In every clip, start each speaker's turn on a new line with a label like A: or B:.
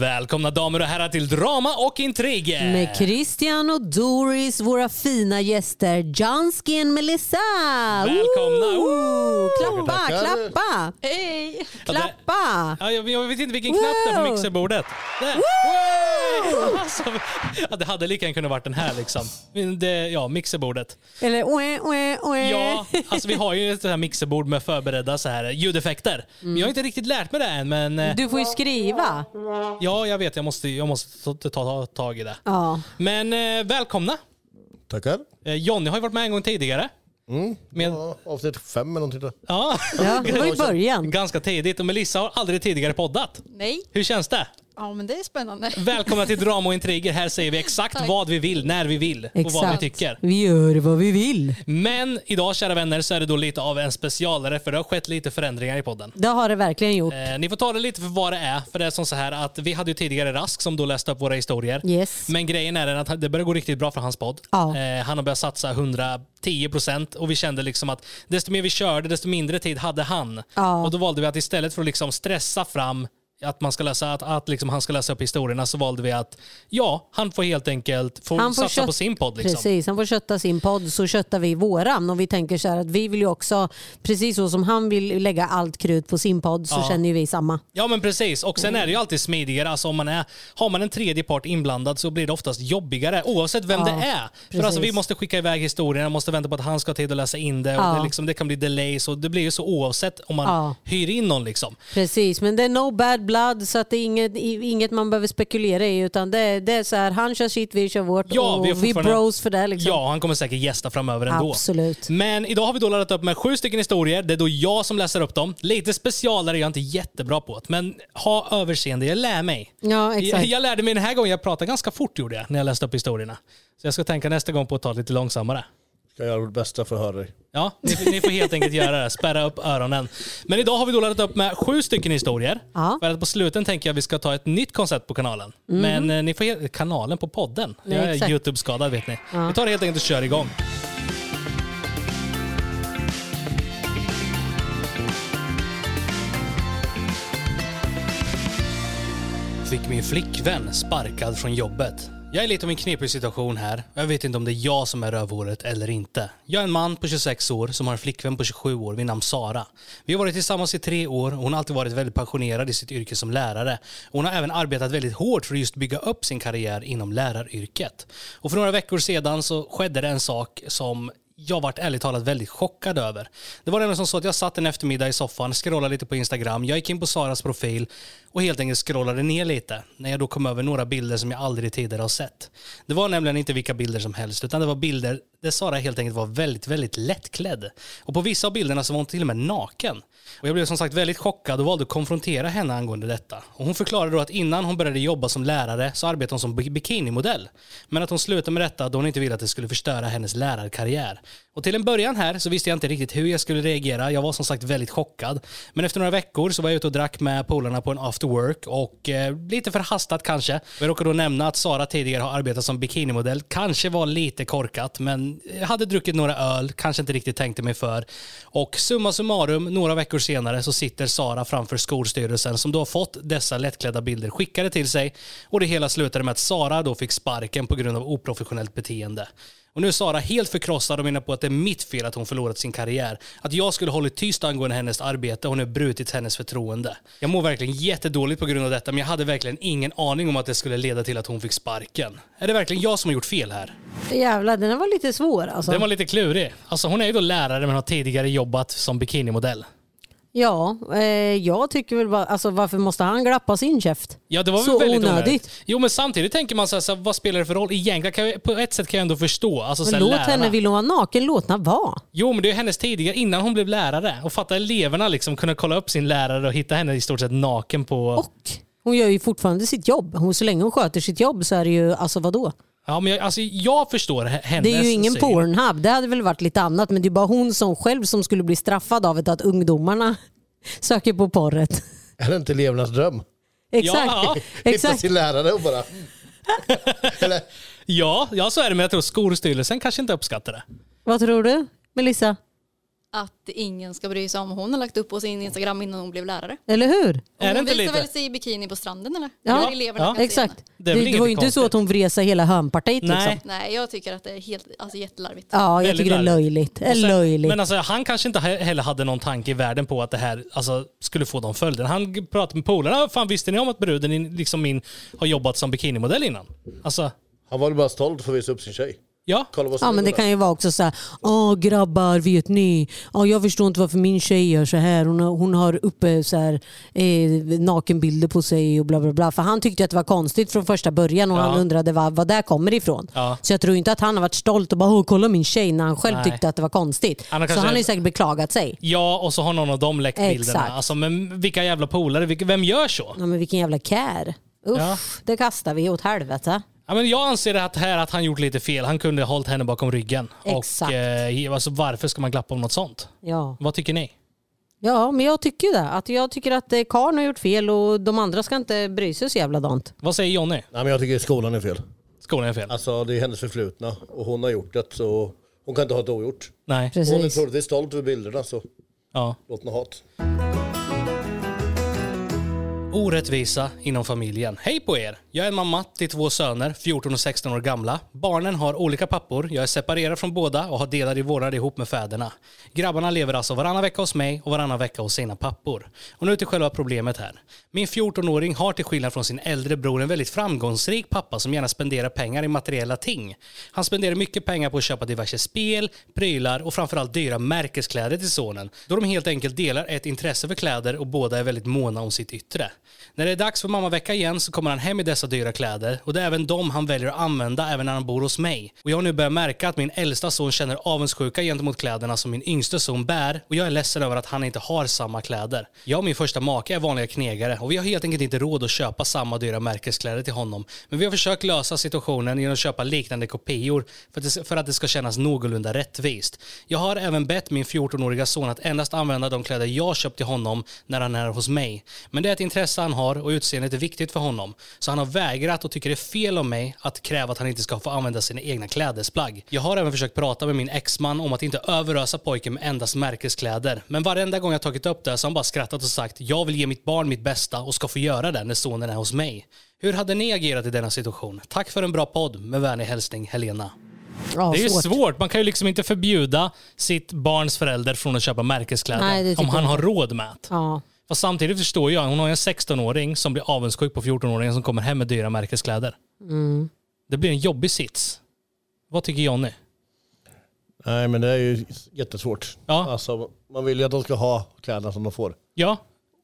A: Välkomna damer och herrar till Drama och Intrig!
B: Med Christian och Doris, våra fina gäster Jansky och Melissa.
A: Välkomna!
B: Woo! Klappa,
C: Tackar.
B: klappa,
D: Hej!
B: klappa.
A: Ja, jag, jag vet inte vilken knapp det är på
B: Wow! mixerbordet.
A: mixerbordet. Alltså, ja, det hade lika gärna kunnat varit den här liksom. Men Det, ja, mixerbordet.
B: Eller oe, oe, oe.
A: Ja, alltså vi har ju ett sånt här mixerbord med förberedda så här ljudeffekter. Jag har inte riktigt lärt mig det än, men eh,
B: Du får ju skriva.
A: ja, jag vet, jag måste, jag måste ta, ta, ta tag i det.
B: Ja.
A: Men eh, välkomna!
C: Tackar.
A: Eh, Jonny har ju varit med en gång tidigare. Med,
C: Ja, avsnitt fem eller någonting. där.
A: ja,
B: ja, det var i början.
A: ganska tidigt. Och Melissa har aldrig tidigare poddat.
D: Nej.
A: Hur känns det?
D: Ja, men det är spännande.
A: Välkomna till Drama och Intriger. Här säger vi exakt
D: Tack.
A: vad vi vill, när vi vill och vad vi
B: Exakt.
A: tycker.
B: Vi gör vad vi vill.
A: Men idag, kära vänner, så är det då lite av en specialare för det har skett lite förändringar i podden.
B: Det har det verkligen gjort.
A: Eh, ni får ta det lite för vad det är. För det är som så här att vi hade ju tidigare Rask som då läste upp våra historier.
B: Yes.
A: Men grejen är den att det börjar gå riktigt bra för hans podd.
B: Ja.
A: Eh, han har börjat satsa 110 procent och vi kände liksom att desto mer vi körde, desto mindre tid hade han.
B: Ja.
A: Och då valde vi att istället för att liksom stressa fram att, man ska läsa, att, att liksom han ska läsa upp historierna så valde vi att ja, han får helt enkelt få satsa
B: kött-
A: på sin podd. Liksom.
B: Precis, han får kötta sin podd så köttar vi våran. Och vi tänker så här att vi vill ju också, precis så som han vill lägga allt krut på sin podd så
A: Ja.
B: känner ju vi samma.
A: Ja men precis, och sen är det ju alltid smidigare. Alltså, om man är, har man en tredje part inblandad så blir det oftast jobbigare oavsett vem
B: Ja,
A: det är. För
B: precis.
A: alltså, vi måste skicka iväg historierna, måste vänta på att han ska ha tid att läsa in det.
B: Ja.
A: Och det, liksom, det kan bli delays och det blir ju så oavsett om man
B: Ja.
A: hyr in någon. Liksom.
B: Precis, men det är no bad blood så att det är inget, i- inget man behöver spekulera i utan det, är- det är så här, han kör sitt, vi kör vårt
A: Ja,
B: och
A: vi
B: vi,
A: är fortfarande-
B: bros för det liksom.
A: Ja, han kommer säkert gästa framöver ändå.
B: Absolut.
A: Men idag har vi då laddat upp med sju stycken historier. Det är då jag som läser upp dem. Lite specialare, jag är inte jättebra på det. Men ha överseende, jag lär mig.
B: Ja,
A: Jag,
B: exakt.
A: jag lärde mig den här gången, jag pratade ganska fort gjorde jag när jag läste upp historierna. Så jag ska tänka nästa gång på att ta det lite långsammare.
C: Ska göra vårt bästa för att höra dig.
A: Ja, ni, ni får helt enkelt göra det. Spärra upp öronen. Men idag har vi då laddat upp med sju stycken historier.
B: Ja.
A: För att på sluten tänker jag att vi ska ta ett nytt koncept på kanalen. Men eh, ni får he- kanalen på podden.
B: Nej,
A: jag är
B: exakt.
A: Youtube-skadad vet ni. Vi tar det helt enkelt och kör igång. Fick min flickvän sparkad från jobbet. Jag är lite om en knepig situation här. Jag vet inte om det är jag som är rövhåret eller inte. Jag är en man på 26 år som har en flickvän på 27 år vid namn Sara. Vi har varit tillsammans i tre år och hon har alltid varit väldigt passionerad i sitt yrke som lärare. Hon har även arbetat väldigt hårt för att just bygga upp sin karriär inom läraryrket. Och för några veckor sedan så skedde det en sak som jag vart ärligt talat väldigt chockad över. Det var nämligen som så att jag satt en eftermiddag i soffan, scrollade lite på Instagram, jag gick in på Saras profil och helt enkelt scrollade ner lite när jag då kom över några bilder som jag aldrig tidigare har sett. Det var nämligen inte vilka bilder som helst utan det var bilder där Sara helt enkelt var väldigt, väldigt lättklädd. Och på vissa av bilderna så var hon till och med naken. Och jag blev som sagt väldigt chockad och valde att konfrontera henne angående detta. Och hon förklarade då att innan hon började jobba som lärare så arbetade hon som bi- bikinimodell. Men att hon slutade med detta då hon inte ville att det skulle förstöra hennes lärarkarriär. Och till en början här så visste jag inte riktigt hur jag skulle reagera. Jag var som sagt väldigt chockad. Men efter några veckor så var jag ute och drack med polarna på en after work och eh, lite förhastat kanske. Jag råkade då nämna att Sara tidigare har arbetat som bikinimodell. Kanske var lite korkat men jag hade druckit några öl, kanske inte riktigt tänkte mig för. Och summa summarum, några veckor senare så sitter Sara framför skolstyrelsen som då har fått dessa lättklädda bilder skickade till sig och det hela slutade med att Sara då fick sparken på grund av oprofessionellt beteende. Och nu är Sara helt förkrossad och menar på att det är mitt fel att hon förlorat sin karriär. Att jag skulle hållit tyst angående hennes arbete och nu brutit hennes förtroende. Jag mår verkligen jättedåligt på grund av detta men jag hade verkligen ingen aning om att det skulle leda till att hon fick sparken. Är det verkligen jag som har gjort fel här?
B: Jävlar, den här var lite svår alltså.
A: Den var lite klurig. Alltså hon är ju då lärare men har tidigare jobbat som bikinimodell.
B: Ja, eh, jag tycker väl bara, alltså varför måste han glappa sin käft?
A: Ja, det var väl
B: Så
A: väldigt
B: onödigt.
A: Jo, men samtidigt tänker man så här, så här, vad spelar det för roll egentligen? Kan jag, på ett sätt kan jag ändå förstå. Alltså, så
B: Men
A: här,
B: låt
A: lärarna.
B: henne, vill hon vara naken, låt henne vara.
A: Jo, men det är ju hennes tidigare, innan hon blev lärare. Och fatta eleverna liksom kunna kolla upp sin lärare och hitta henne i stort sett naken på...
B: Och hon gör ju fortfarande sitt jobb. Hon, så länge hon sköter sitt jobb så är det ju, alltså vadå?
A: Ja, men jag, alltså, jag förstår he- hennes
B: Det är ju ingen
A: syn.
B: Pornhub, det hade väl varit lite annat men det är bara hon som själv som skulle bli straffad av att ungdomarna söker på porret.
C: Är det inte elevernas dröm?
B: Exakt.
A: ja.
C: Hitta
B: Exakt.
C: sin lärare och bara... Eller,
A: Ja, ja, så är det. Men jag tror Skolstyrelsen kanske inte uppskattar det.
B: Vad tror du Melissa?
D: att ingen ska bry sig om. Hon har lagt upp på sin Instagram innan hon blev lärare.
B: Eller hur?
D: Och
A: Är det
D: hon
A: inte
D: visar
A: lite?
D: väl sig i bikini på stranden eller?
B: Ja.
D: Eller eleverna
A: Ja.
D: kan se henne.
B: Exakt.
A: Det är
B: Det,
A: väl
B: det var ju
A: inget
B: inte så
A: konstigt.
B: att hon vresade hela hönpartiet
A: Nej.
B: liksom.
D: Nej, jag tycker att det är helt, alltså, jättelarvigt.
B: Ja, jag
A: Väldigt
B: tycker det är
A: larvigt.
B: löjligt. Det är
A: Och sen-
B: löjligt.
A: Men alltså, han kanske inte he- heller hade någon tanke i världen på att det här alltså, skulle få de följderna. Han g- pratade med polarna. Fan, visste ni om att bruden in, liksom min, har jobbat som bikinimodell innan? Alltså,
C: Han var väl bara stolt för att visa upp sin tjej.
A: ja.
C: Kolla vad
B: Ja men det kan ju vara också så här, åh grabbar vet ni, åh, jag förstår inte varför min tjej gör så här. Hon har, hon har uppe så här, eh, nakenbilder på sig och bla bla bla. För han tyckte att det var konstigt från första början och
A: Ja.
B: han undrade vad, vad det kommer ifrån.
A: Ja.
B: Så jag tror inte att han har varit stolt och bara, åh kolla min tjej när han själv
A: Nej.
B: tyckte att det var konstigt.
A: Han har
B: så
A: kanske-
B: han har ju säkert beklagat sig.
A: Ja, och så har någon av dem läckt bilderna.
B: Exakt.
A: Alltså, men vilka jävla polare? Vilka, vem gör så?
B: Ja men vilken jävla kär. Uff,
A: Ja.
B: det kastar vi åt helvete.
A: Ja, men jag anser att här att han gjort lite fel. Han kunde ha hållit henne bakom ryggen.
B: Exakt.
A: Och, eh, alltså, varför ska man glappa om något sånt?
B: Ja.
A: Vad tycker ni?
B: ja men jag tycker ju det. Att jag tycker att eh, karln har gjort fel och de andra ska inte bry sig så jävla dant.
A: Vad säger Jonny?
C: Nej, men jag tycker skolan är fel.
A: Skolan är fel.
C: Alltså det är hennes förflutna och hon har gjort det så hon kan inte ha det ogjort.
A: Nej.
C: Hon är
B: Precis.
C: troligtvis stolt över bilderna så
A: Ja.
C: låt henne ha det.
A: Orättvisa inom familjen. Hej på er! Jag är mamma till två söner, 14 och 16 år gamla. Barnen har olika pappor, jag är separerad från båda och har delad i vårdnad ihop med fäderna. Grabbarna lever alltså varannan vecka hos mig och varannan vecka hos sina pappor. Och nu till själva problemet här. Min 14-åring har till skillnad från sin äldre bror en väldigt framgångsrik pappa som gärna spenderar pengar i materiella ting. Han spenderar mycket pengar på att köpa diverse spel, prylar och framförallt dyra märkeskläder till sonen. Då de helt enkelt delar ett intresse för kläder och båda är väldigt måna om sitt yttre. När det är dags för mammavecka igen så kommer han hem i dessa dyra kläder och det är även de han väljer att använda även när han bor hos mig. Och jag har nu börjat märka att min äldsta son känner avundsjuka gentemot kläderna som min yngste son bär och jag är ledsen över att han inte har samma kläder. Jag och min första make är vanliga knegare och vi har helt enkelt inte råd att köpa samma dyra märkeskläder till honom. Men vi har försökt lösa situationen genom att köpa liknande kopior för att det, för att det ska kännas någorlunda rättvist. Jag har även bett min 14-åriga son att endast använda de kläder jag köpt till honom när han är hos mig. Men det är ett intresse han har och utseendet är viktigt för honom. Så han har vägrat och tycker det är fel av mig att kräva att han inte ska få använda sina egna klädesplagg. Jag har även försökt prata med min exman om att inte överösa pojken med endast märkeskläder. Men varenda gång jag tagit upp det så har han bara skrattat och sagt jag vill ge mitt barn mitt bästa och ska få göra det när sonen är hos mig. Hur hade ni agerat i denna situation? Tack för en bra podd. Med vänlig hälsning Helena.
B: Ja,
A: Det är ju
B: svårt.
A: svårt. Man kan ju liksom inte förbjuda sitt barns förälder från att köpa märkeskläder
B: Nej, det tycker
A: om han
B: jag
A: har råd med det.
B: Ja.
A: Fast samtidigt förstår jag, hon har ju en 16-åring som blir avundsjuk på 14-åringen som kommer hem med dyra märkeskläder.
B: Mm.
A: Det blir en jobbig sits. Vad tycker Jonny?
C: Nej men det är ju jättesvårt.
A: Ja.
C: Alltså, man vill ju att de ska ha kläderna som de får.
A: Ja?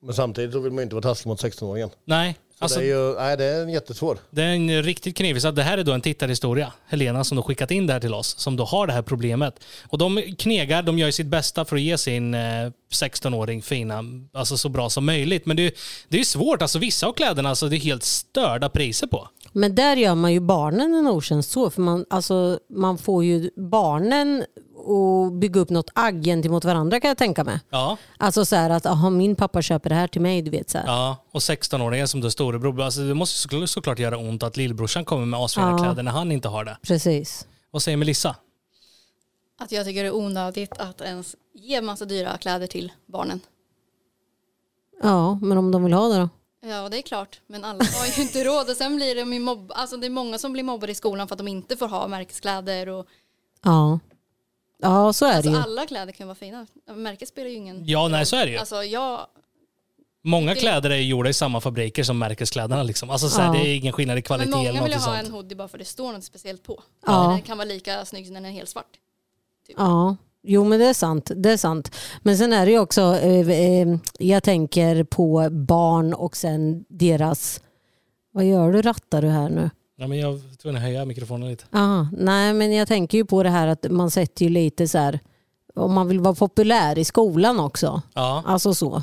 C: Men samtidigt så vill man ju inte vara taskig mot 16-åringen.
A: Nej?
C: Så
A: Alltså,
C: det, är ju, nej, det är en jättesvår.
A: det är en riktigt knivig. Så det här är då en tittarhistoria. Helena som då skickat in det här till oss, som då har det här problemet. Och de knegar, de gör ju sitt bästa för att ge sin eh, 16-åring fina, alltså så bra som möjligt. Men det är ju det är ju svårt, alltså vissa av kläderna, alltså det är helt störda priser på.
B: Men där gör man ju barnen en otjänst så. För man, alltså, man får ju barnen att bygga upp något agg gentemot varandra kan jag tänka mig.
A: Ja.
B: Alltså så här att aha, min pappa köper det här till mig. Du vet, så här.
A: Ja, och 16-åringen som då är storebror. Alltså det måste såklart, såklart göra ont att lillbrorsan kommer med asfina
B: Ja.
A: kläder när han inte har det.
B: Precis.
A: Vad säger Melissa?
D: Att jag tycker det är onödigt att ens ge massa dyra kläder till barnen.
B: Ja, men om de vill ha det då?
D: Ja, det är klart. Men alla har ju inte råd. Och sen blir de ju mobb... Alltså det är många som blir mobbade i skolan för att de inte får ha märkeskläder. Och...
B: Ja. Ja, så är
D: Alltså
B: det ju.
D: alla kläder kan ju vara fina. Märket spelar ju ingen...
A: Ja, nej så är det ju.
D: Alltså jag...
A: Många kläder är ju gjorda i samma fabriker som märkeskläderna. Liksom. Alltså, så här,
B: Ja.
A: Det är ingen skillnad i
D: Men
A: kvalitet eller
D: många vill ju
A: något
D: ha
A: sånt.
D: en hoodie bara för det står något speciellt på.
B: Ja.
D: Den kan vara lika snygg som den är helt svart.
B: Ja. Jo men det är sant. Det är sant. Men sen är det ju också, eh, eh, jag tänker på barn och sen deras, vad gör du rattar du här nu?
A: Ja, men jag var tvungen att höja mikrofonen lite.
B: Ja, nej men jag tänker ju på det här att man sätter ju lite så här, om man vill vara populär i skolan också.
A: Ja.
B: Alltså så.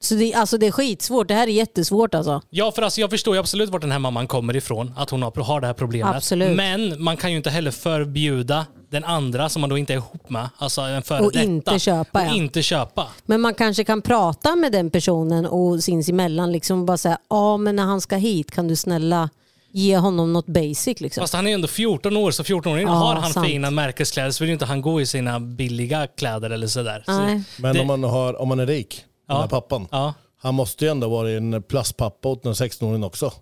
B: Så det, alltså det är skitsvårt, det här är jättesvårt alltså.
A: Ja, för alltså, jag förstår ju absolut vart den här mamman kommer ifrån, att hon har, har det här problemet.
B: Absolut.
A: Men man kan ju inte heller förbjuda den andra som man då inte är ihop med, alltså en före
B: Och
A: detta,
B: inte köpa,
A: och
B: ja.
A: inte köpa.
B: Men man kanske kan prata med den personen och sinsemellan liksom bara säga, ja men när han ska hit kan du snälla ge honom något basic liksom.
A: Fast han är ju ändå 14 år, så 14 år innan
B: Ja,
A: har han
B: sant.
A: fina märkeskläder så vill ju inte han gå i sina billiga kläder eller sådär.
B: Nej.
A: Så,
C: Men
A: Det-
C: om, man har, om man är rik, den här pappan,
A: ja.
C: han måste ju ändå vara en plastpappa åt den 16-åringen också.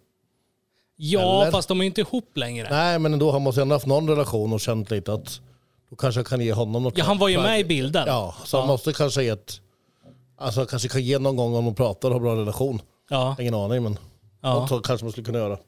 A: Ja,
C: Eller?
A: fast de är ju inte ihop längre.
C: Nej, men ändå, han måste ju ändå haft någon relation och känt lite att då kanske jag kan ge honom något.
A: Ja, han var ju med i bilden.
C: Ja, så han måste kanske ge ett... Alltså han kanske kan ge någon gång om de pratar och har bra relation.
A: Ja.
C: Ingen aning, men
A: Ja.
C: något så kanske man skulle kunna göra.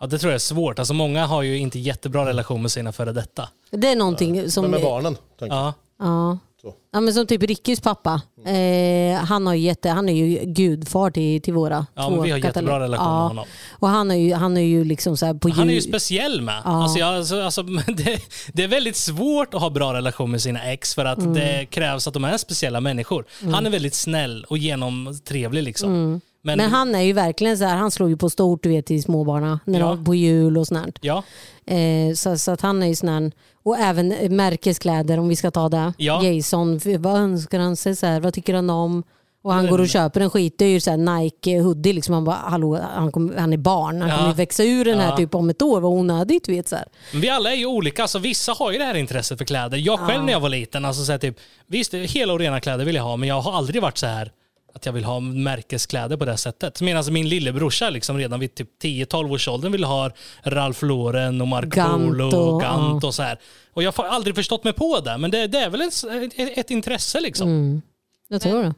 A: ja, det tror jag är svårt. Alltså, många har ju inte jättebra relation med sina före detta.
B: Det är någonting som...
C: Men med barnen, tänker jag.
A: Ja.
B: Ja.
C: Så.
B: ja men som typ Rickys pappa. Eh, han, har ju jätte, han är ju gudfar till, till våra
A: Ja,
B: två
A: men vi har jättebra
B: kataloger.
A: relation med
B: Ja.
A: honom.
B: Och han är ju, han är ju liksom så här på
A: Han är ju
B: djur-
A: speciell med. Alltså, jag, alltså, alltså, men det, det är väldigt svårt att ha bra relation med sina ex för att det krävs att de är speciella människor. Han är väldigt snäll och genomtrevlig liksom. Men,
B: Men han är ju verkligen så här, han slår ju på stort du vet i småbarna när
A: Ja.
B: de på jul och sånt. här.
A: ja,
B: Eh, så, så att han är ju sån här, och även eh, märkeskläder om vi ska ta det.
A: Ja.
B: Jason, f- vad önskar han sig? Så här, vad tycker han om? Och
A: Mm.
B: han går och köper en skitdyr så här Nike hoodie. Liksom. Han bara, hallå, han, kommer- han är barn. Han
A: Ja.
B: kommer ju växa ur den här
A: Ja.
B: typ om ett år. Vad onödigt. du Vet, så här.
A: Men Vi alla är ju olika, alltså, vissa har ju det här intresset för kläder. Jag själv när jag var liten, alltså, så här, typ, visst hela och rena kläder vill jag ha, men jag har aldrig varit så här att jag vill ha märkeskläder på det sättet. Medan min lillebrorsa liksom redan vid typ 10-12 års åldern ville ha Ralph Lauren och Marco
B: Gant
A: Polo och
B: och-
A: Gant och så här. Och jag har aldrig förstått mig på det, men det, det är väl ett, ett, ett intresse liksom.
B: Mm. Jag tror det.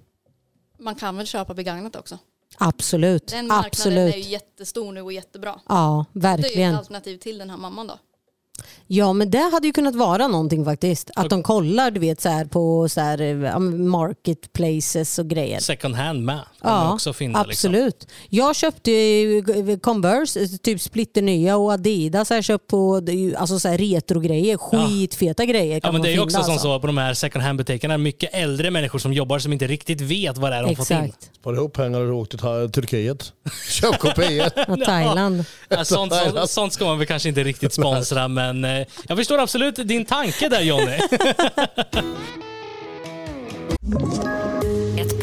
D: Man kan väl köpa begagnat också?
B: Absolut.
D: Den marknaden
B: Absolut.
D: är ju jättestor nu och jättebra.
B: Ja,
D: Det är ju
B: verkligen.
D: ett alternativ till den här mamman då.
B: Ja, men det hade ju kunnat vara någonting faktiskt. Att de kollar du vet, så här, på så här, ja, men marketplaces och grejer.
A: Second hand med. kan man
B: Ja,
A: också finna, liksom.
B: absolut. Jag köpte ju Converse, typ splitternya och Adidas har jag köpt på det är ju, alltså så här retrogrejer. Skitfeta grejer kan
A: Ja, men
B: man
A: det är ju
B: finna,
A: också som
B: alltså.
A: så på de här second hand-butikerna, mycket äldre människor som jobbar som inte riktigt vet vad det är de fått in.
B: Exakt.
C: Spara ihop pengar och åk till Ta- Turkiet. Köp kopior.
B: Ja, Thailand.
A: Ja, sånt, sånt, sånt ska man väl kanske inte riktigt sponsra, men eh, jag förstår absolut din tanke där Jonny.
E: Ett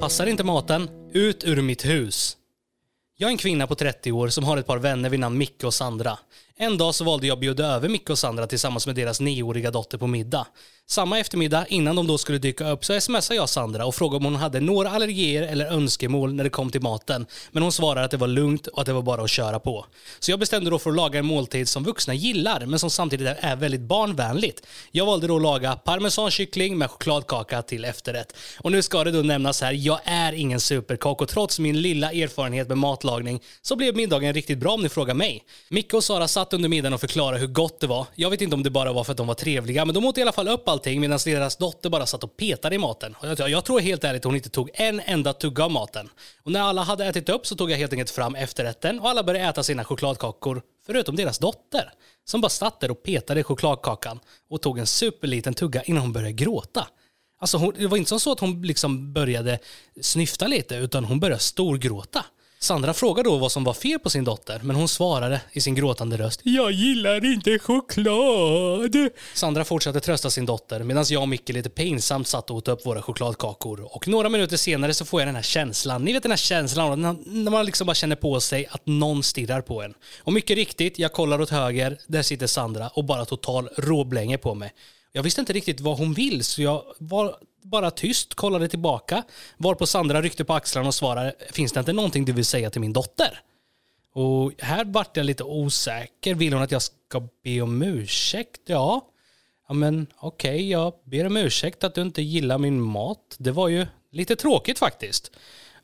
A: Passar inte maten? Ut ur mitt hus. Jag är en kvinna på 30 år som har ett par vänner vid namn Micke och Sandra. En dag så valde jag att bjuda över Micke och Sandra tillsammans med deras nioåriga dotter på middag. Samma eftermiddag, innan de då skulle dyka upp, så smsade jag Sandra och frågade om hon hade några allergier eller önskemål när det kom till maten. Men hon svarade att det var lugnt och att det var bara att köra på. Så jag bestämde då för att laga en måltid som vuxna gillar, men som samtidigt är väldigt barnvänligt. Jag valde då att laga parmesankyckling med chokladkaka till efterrätt. Och nu ska det då nämnas här, jag är ingen superkock och trots min lilla erfarenhet med matlagning så blev middagen riktigt bra om ni frågar mig. Micke och Sara satt under middagen och förklarade hur gott det var. Jag vet inte om det bara var för att de var trevliga, men de åt i alla fall upp allting medan deras dotter bara satt och petade i maten. Och jag, jag tror helt ärligt hon inte tog en enda tugga av maten. Och när alla hade ätit upp så tog jag helt enkelt fram efterrätten och alla började äta sina chokladkakor, förutom deras dotter som bara satt där och petade i chokladkakan och tog en superliten tugga innan hon började gråta. Alltså hon, det var inte som så att hon liksom började snyfta lite, utan hon började storgråta. Sandra frågade då vad som var fel på sin dotter, men hon svarade i sin gråtande röst. Jag gillar inte choklad. Sandra fortsatte trösta sin dotter medan jag och Micke lite pinsamt satt och åt upp våra chokladkakor. Och några minuter senare så får jag den här känslan. Ni vet den här känslan när- när man liksom bara känner på sig att någon stirrar på en. Och mycket riktigt, jag kollar åt höger, där sitter Sandra och bara total råblänger på mig. Jag visste inte riktigt vad hon vill så jag var bara tyst, kollade tillbaka, varpå Sandra ryckte på axlarna och svarade “Finns det inte någonting du vill säga till min dotter?” Och här vart jag lite osäker. Vill hon att jag ska be om ursäkt? Ja. Ja men okej, jag ber om ursäkt att du inte gillar min mat. Det var ju lite tråkigt faktiskt.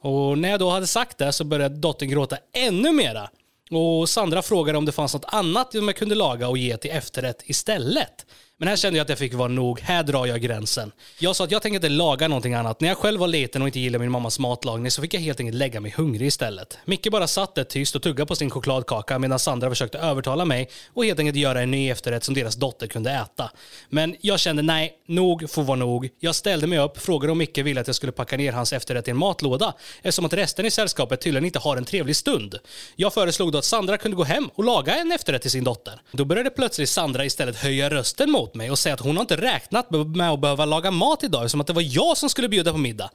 A: Och när jag då hade sagt det så började dottern gråta ännu mera. Och Sandra frågade om det fanns något annat som jag kunde laga och ge till efterrätt istället. Men här kände jag att jag fick vara nog. Här drar jag gränsen. Jag sa att jag tänker inte laga någonting annat. När jag själv var liten och inte gillade min mammas matlagning så fick jag helt enkelt lägga mig hungrig istället. Micke bara satt där tyst och tuggade på sin chokladkaka medan Sandra försökte övertala mig och helt enkelt göra en ny efterrätt som deras dotter kunde äta. Men jag kände nej, nog får vara nog. Jag ställde mig upp, frågade om Micke ville att jag skulle packa ner hans efterrätt i en matlåda eftersom att resten i sällskapet tydligen inte har en trevlig stund. Jag föreslog då att Sandra kunde gå hem och laga en efterrätt till sin dotter. Då började plötsligt Sandra istället höja rösten mot mig och säga att hon har inte räknat med att behöva laga mat idag som att det var jag som skulle bjuda på middag.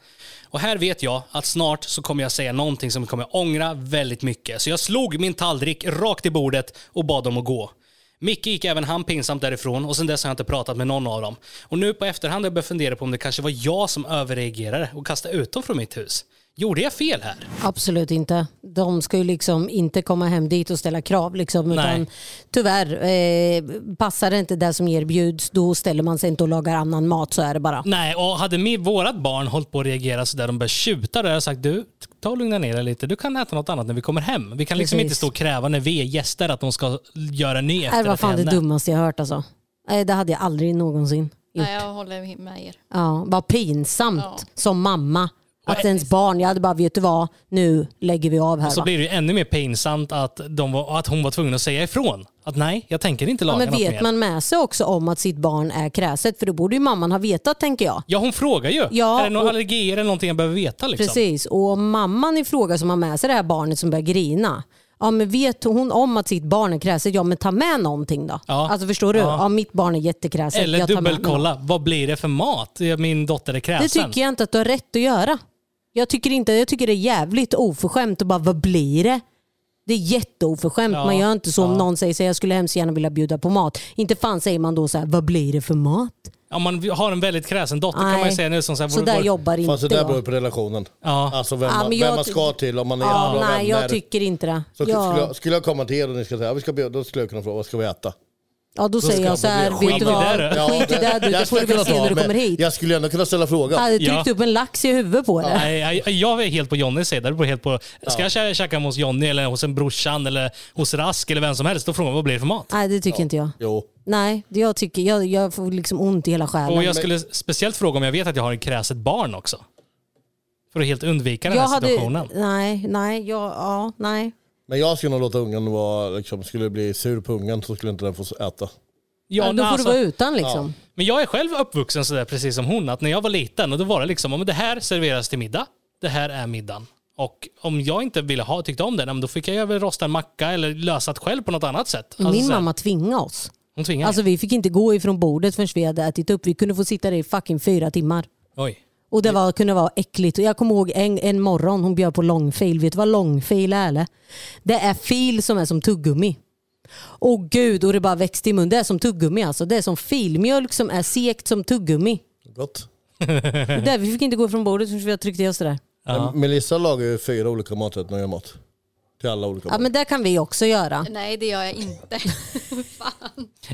A: Och här vet jag att snart så kommer jag säga någonting som jag kommer ångra väldigt mycket. Så jag slog min tallrik rakt i bordet och bad dem att gå. Micke gick även han pinsamt därifrån och sen dess har jag inte pratat med någon av dem. Och nu på efterhand har jag börjat fundera på om det kanske var jag som överreagerade och kastade ut dem från mitt hus. Gjorde jag fel här?
B: Absolut inte. De ska ju liksom inte komma hem dit och ställa krav. Liksom, utan
A: Nej.
B: tyvärr, eh, passar det inte det som erbjuds då ställer man sig inte och lagar annan mat. Så är det bara.
A: Nej, och hade mi- vårat barn hållit på att reagera så där de började tjuta, då hade jag sagt du, ta och lugna ner dig lite. Du kan äta något annat när vi kommer hem. Vi kan liksom
B: Precis.
A: inte stå och kräva när vi är gäster att de ska göra en ny
B: Det var
A: efterrätt
B: Äh, fan det
A: till henne.
B: dummaste jag hört alltså. Nej, det hade jag aldrig någonsin gjort.
D: Nej, jag håller med er.
B: Ja, vad pinsamt
D: Ja.
B: som mamma. Att
A: Nej.
B: ens barn, jag hade bara, vet du vad, nu lägger vi av här.
A: Så
B: va?
A: blir det ju ännu mer pinsamt att, de var, att hon var tvungen att säga ifrån. Att nej, jag tänker inte
B: Ja,
A: laga
B: men
A: något
B: vet
A: mer.
B: man med sig också om att sitt barn är kräset? För då borde ju mamman ha vetat tänker jag.
A: Ja, hon frågar ju.
B: Ja,
A: är det några
B: och-
A: allergier eller någonting jag behöver veta? Liksom?
B: Precis, och om mamman i fråga som har med sig det här barnet som börjar grina. Ja, men vet hon om att sitt barn är kräset, ja men ta med någonting då.
A: Ja.
B: Alltså förstår du?
A: Ja.
B: Ja. mitt barn är jättekräset.
A: Eller
B: jag tar med mig något.
A: dubbelkolla, vad blir det för mat? Min dotter är kräsen.
B: Det tycker jag inte att du har rätt att göra. Jag tycker, inte, jag tycker det är jävligt oförskämt att bara, vad blir det? Det är jätteoförskämt.
A: Ja.
B: Man gör inte så om
A: Ja.
B: någon säger så här, jag skulle hemskt gärna vilja bjuda på mat. Inte fan säger man då så här, vad blir det för mat?
A: Om man har en väldigt kräsen dotter kan man ju
B: Nej.
A: säga nu som så här,
B: Så
A: vår-
B: där
A: vår-
B: jobbar inte
C: Fast det där
B: jag.
C: beror ju på relationen.
A: Ja.
C: Alltså vem,
B: Ja,
C: man,
B: men jag
C: vem man
B: ty-
C: ska till, om man är
B: Ja,
C: bra
B: nej, jag
C: vänner.
B: tycker inte det.
C: Så skulle,
B: Ja,
C: jag, skulle jag komma till er och ni ska säga, ja, vi ska bjuda, då skulle jag kunna fråga, vad ska vi äta?
B: ja, då säger jag så här,
C: Skit
B: vet du
A: i
B: vad?
A: det då.
B: Skit i det du,
C: Jag
B: det får
C: skulle
B: du väl
C: kunna
B: se
C: ta,
B: när du
C: men
B: kommer hit.
C: Jag skulle ändå kunna ställa
B: Jag
C: frågan.
B: hade tryckt
A: Ja.
B: upp en lax i huvudet på det.
A: Nej, jag, jag är helt på Jonnys sida. Det beror helt på, ska jag kä- käka hemma hos Jonny eller hos en brorsan eller hos Rask eller vem som helst, då frågar man vad blir det för mat?
B: Nej, det tycker inte jag.
C: Jo.
B: Nej, det jag, tycker, jag, jag får liksom ont i hela
A: Och
B: själen.
A: jag skulle speciellt fråga om jag vet att jag har ett kräset barn också. För att helt undvika den
B: Jag
A: här
B: hade,
A: situationen.
B: nej, nej, jag, ja, nej.
C: Men jag skulle nog låta ungen vara, liksom, skulle det bli sur på ungen så skulle inte den få äta.
A: Ja,
B: Ja, då
A: men
B: får du
A: alltså-
B: vara utan liksom.
A: Men jag är själv uppvuxen sådär precis som hon, att när jag var liten och då var det liksom, om det här serveras till middag, det här är middagen. Och om jag inte ville ha, tyckte om det, nej, men då fick jag väl rosta en macka eller lösa det själv på något annat sätt. Alltså,
B: Min
A: såhär,
B: mamma tvingade oss.
A: Hon tvingade
B: Alltså vi fick inte gå ifrån bordet förrän vi hade ätit upp. Vi kunde få sitta där i fucking fyra timmar.
A: Oj.
B: Och det var, kunde vara äckligt. Och jag kommer ihåg en, en morgon hon bjöd på långfil. Vet du vad långfil är eller? Det är fil som är som tuggummi. Åh gud, och det bara växte i munnen. Det är som tuggummi alltså. Det är som filmjölk som är sekt som tuggummi.
C: Gott.
A: Mm-hmm.
B: Det Där, vi fick inte gå ifrån bordet förrän vi hade tryckt i oss det där.
C: Men Melissa lagar ju fyra olika maträtter när jag gör mat. Till alla olika
B: Ja
C: mat.
B: men det kan vi också göra.
A: Mm.
D: Nej, det gör jag inte. Fan.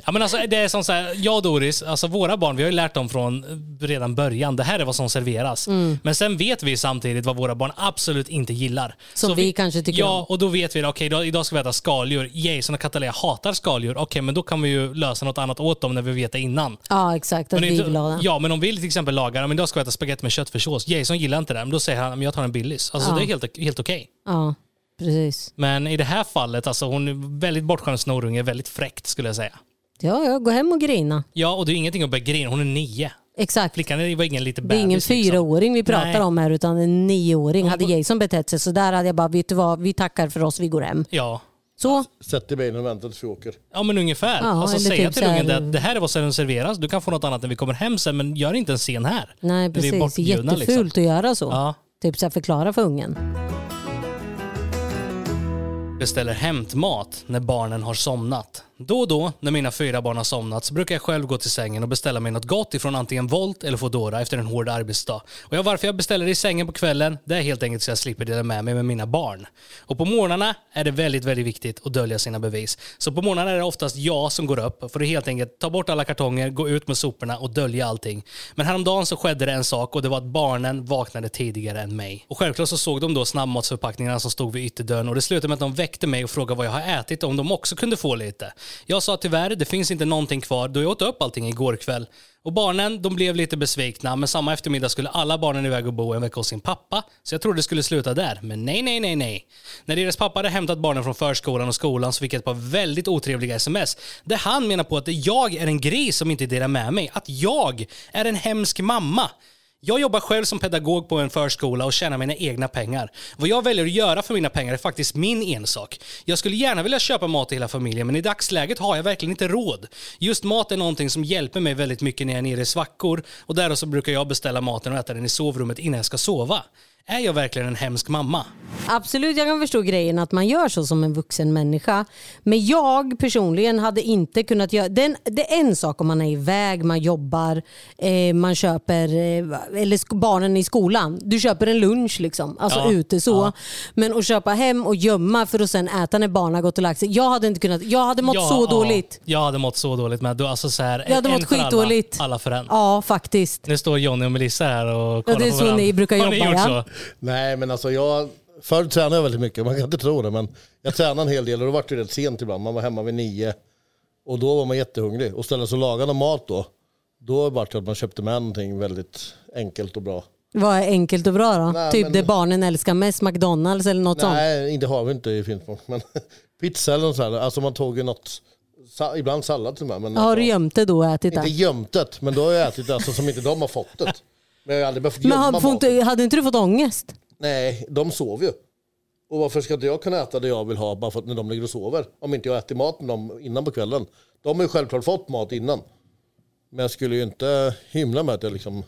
A: Ja, men alltså, det är som så här, jag och Doris, alltså våra barn, vi har ju lärt dem från eh, redan början, det här är vad som serveras.
B: Mm.
A: Men sen vet vi samtidigt vad våra barn absolut inte gillar.
B: Som vi kanske tycker
A: Ja,
B: om.
A: och då vet vi att okej, idag- idag ska vi äta skaldjur. Jason och Katalea hatar skaldjur. Okej, men då kan vi ju lösa något annat åt dem när vi vet det innan.
B: Ja exakt, att
A: Men
B: vi är
A: inte-
B: glada.
A: Ja, men om vi till exempel lagar, ja, men idag ska vi äta spagetti med köttfärssås. Jason gillar inte det, men då säger han, men jag tar en Billys. Alltså
B: Ja.
A: det är helt, helt okej.
B: Ja, precis.
A: Men i det här fallet, alltså hon är väldigt bortskämd snorunge, väldigt fräckt skulle jag säga.
B: Ja, ja, gå hem och grina.
A: Ja, och det är ingenting att börja grina, hon är nio.
B: Exakt.
A: Flickan är- var ingen liten
B: Det är
A: bebis. liksom.
B: ingen fyraåring vi pratar
A: Nej.
B: om här utan en nioåring.
A: Hon-
B: Hade Jason betett sig så där hade jag bara, vet du vad, vi tackar för oss, vi går hem.
A: Ja.
B: Så,
A: Alltså,
C: Sätt dig i bilen och vänta tills vi åker.
A: ja, men ungefär.
B: Ja,
A: alltså,
B: eller
A: säga
B: typ
A: till
B: så här-
A: ungen det att det här är vad som serveras. Du kan få något annat när vi kommer hem sen, men gör inte en scen här.
B: nej
A: När vi är
B: precis. Det är
A: bortbjudna,
B: jättefult
A: liksom.
B: att göra så.
A: Ja.
B: Typ så här, förklara för ungen.
A: beställer hämtmat när barnen har somnat. Då och då, när mina fyra barn har somnat, så brukar jag själv gå till sängen och beställa mig något gott ifrån antingen Volt eller Foodora efter en hård arbetsdag. Och jag, varför jag beställer det i sängen på kvällen, det är helt enkelt så jag slipper dela med mig med mina barn. Och på morgnarna är det väldigt, väldigt viktigt att dölja sina bevis. Så på morgnarna är det oftast jag som går upp för att helt enkelt ta bort alla kartonger, gå ut med soporna och dölja allting. Men häromdagen så skedde det en sak och det var att barnen vaknade tidigare än mig. Och självklart så såg de då snabbmatsförpackningarna som stod vid ytterdörren och det slutade med att de väckte mig och frågade vad jag har ätit och om de också kunde få lite. Jag sa tyvärr, det finns inte någonting kvar då jag åt upp allting igår kväll. Och barnen, de blev lite besvikna men samma eftermiddag skulle alla barnen iväg och bo en vecka hos sin pappa. Så jag trodde det skulle sluta där, men nej, nej, nej, nej. När deras pappa hade hämtat barnen från förskolan och skolan så fick jag ett par väldigt otrevliga sms där han menar på att jag är en gris som inte delar med mig. Att jag är en hemsk mamma. Jag jobbar själv som pedagog på en förskola och tjänar mina egna pengar. Vad jag väljer att göra för mina pengar är faktiskt min ensak. Jag skulle gärna vilja köpa mat till hela familjen men i dagsläget har jag verkligen inte råd. Just mat är någonting som hjälper mig väldigt mycket när jag är nere i svackor och därav så brukar jag beställa maten och äta den i sovrummet innan jag ska sova. Är jag verkligen en hemsk mamma?
B: Absolut, jag kan förstå grejen att man gör så som en vuxen människa. Men jag personligen hade inte kunnat göra... Den, det är en sak om man är iväg, man jobbar, eh, man köper... Eh, eller sk- barnen i skolan. Du köper en lunch liksom. Alltså
A: Ja,
B: ute så. Men att köpa hem och gömma för att sen äta när barnen har gått och lagt sig. Jag hade inte kunnat... Jag hade mått
A: Ja,
B: så
A: ja.
B: dåligt.
A: Jag hade mått så dåligt med. Du, alltså så här,
B: Jag hade
A: en
B: mått
A: för alla,
B: skitdåligt.
A: Alla för en.
B: Ja, faktiskt.
A: Nu står Johnny och Melissa här och kollar
B: det är
A: på
B: så
A: varandra.
B: ni brukar
A: Har ni
B: jobba,
A: gjort
B: ja.
A: så?
C: Nej, men alltså jag... Förr tränade jag väldigt mycket, man kan inte tro det, men jag tränade en hel del och då var det ju rätt sent ibland. Man var hemma vid nio och då var man jättehungrig. Och istället så lagade man mat då. Då var det att man köpte med någonting väldigt enkelt och bra.
B: Vad är enkelt och bra då?
C: Nej,
B: typ
C: men-
B: det barnen älskar mest, McDonalds eller något sånt.
C: Nej, inte har vi inte i Finspång, men pizza eller något sånt. här. Alltså man tog ju något, sa, ibland sallad till och med. Men
B: Har
C: alltså,
B: du gömt det då och ätit
C: Inte
B: det?
C: gömt det, men då har jag ätit det alltså, som inte de har fått det. Men jag har aldrig behövt
B: Men
C: gömma
B: har, får
C: maten.
B: inte, hade inte du fått ångest?
C: Nej, de sover ju. Och varför ska inte jag kunna äta det jag vill ha bara för att när de ligger och sover? Om inte jag äter mat med dem innan på kvällen. De har ju självklart fått mat innan. Men jag skulle ju inte hymla med att jag liksom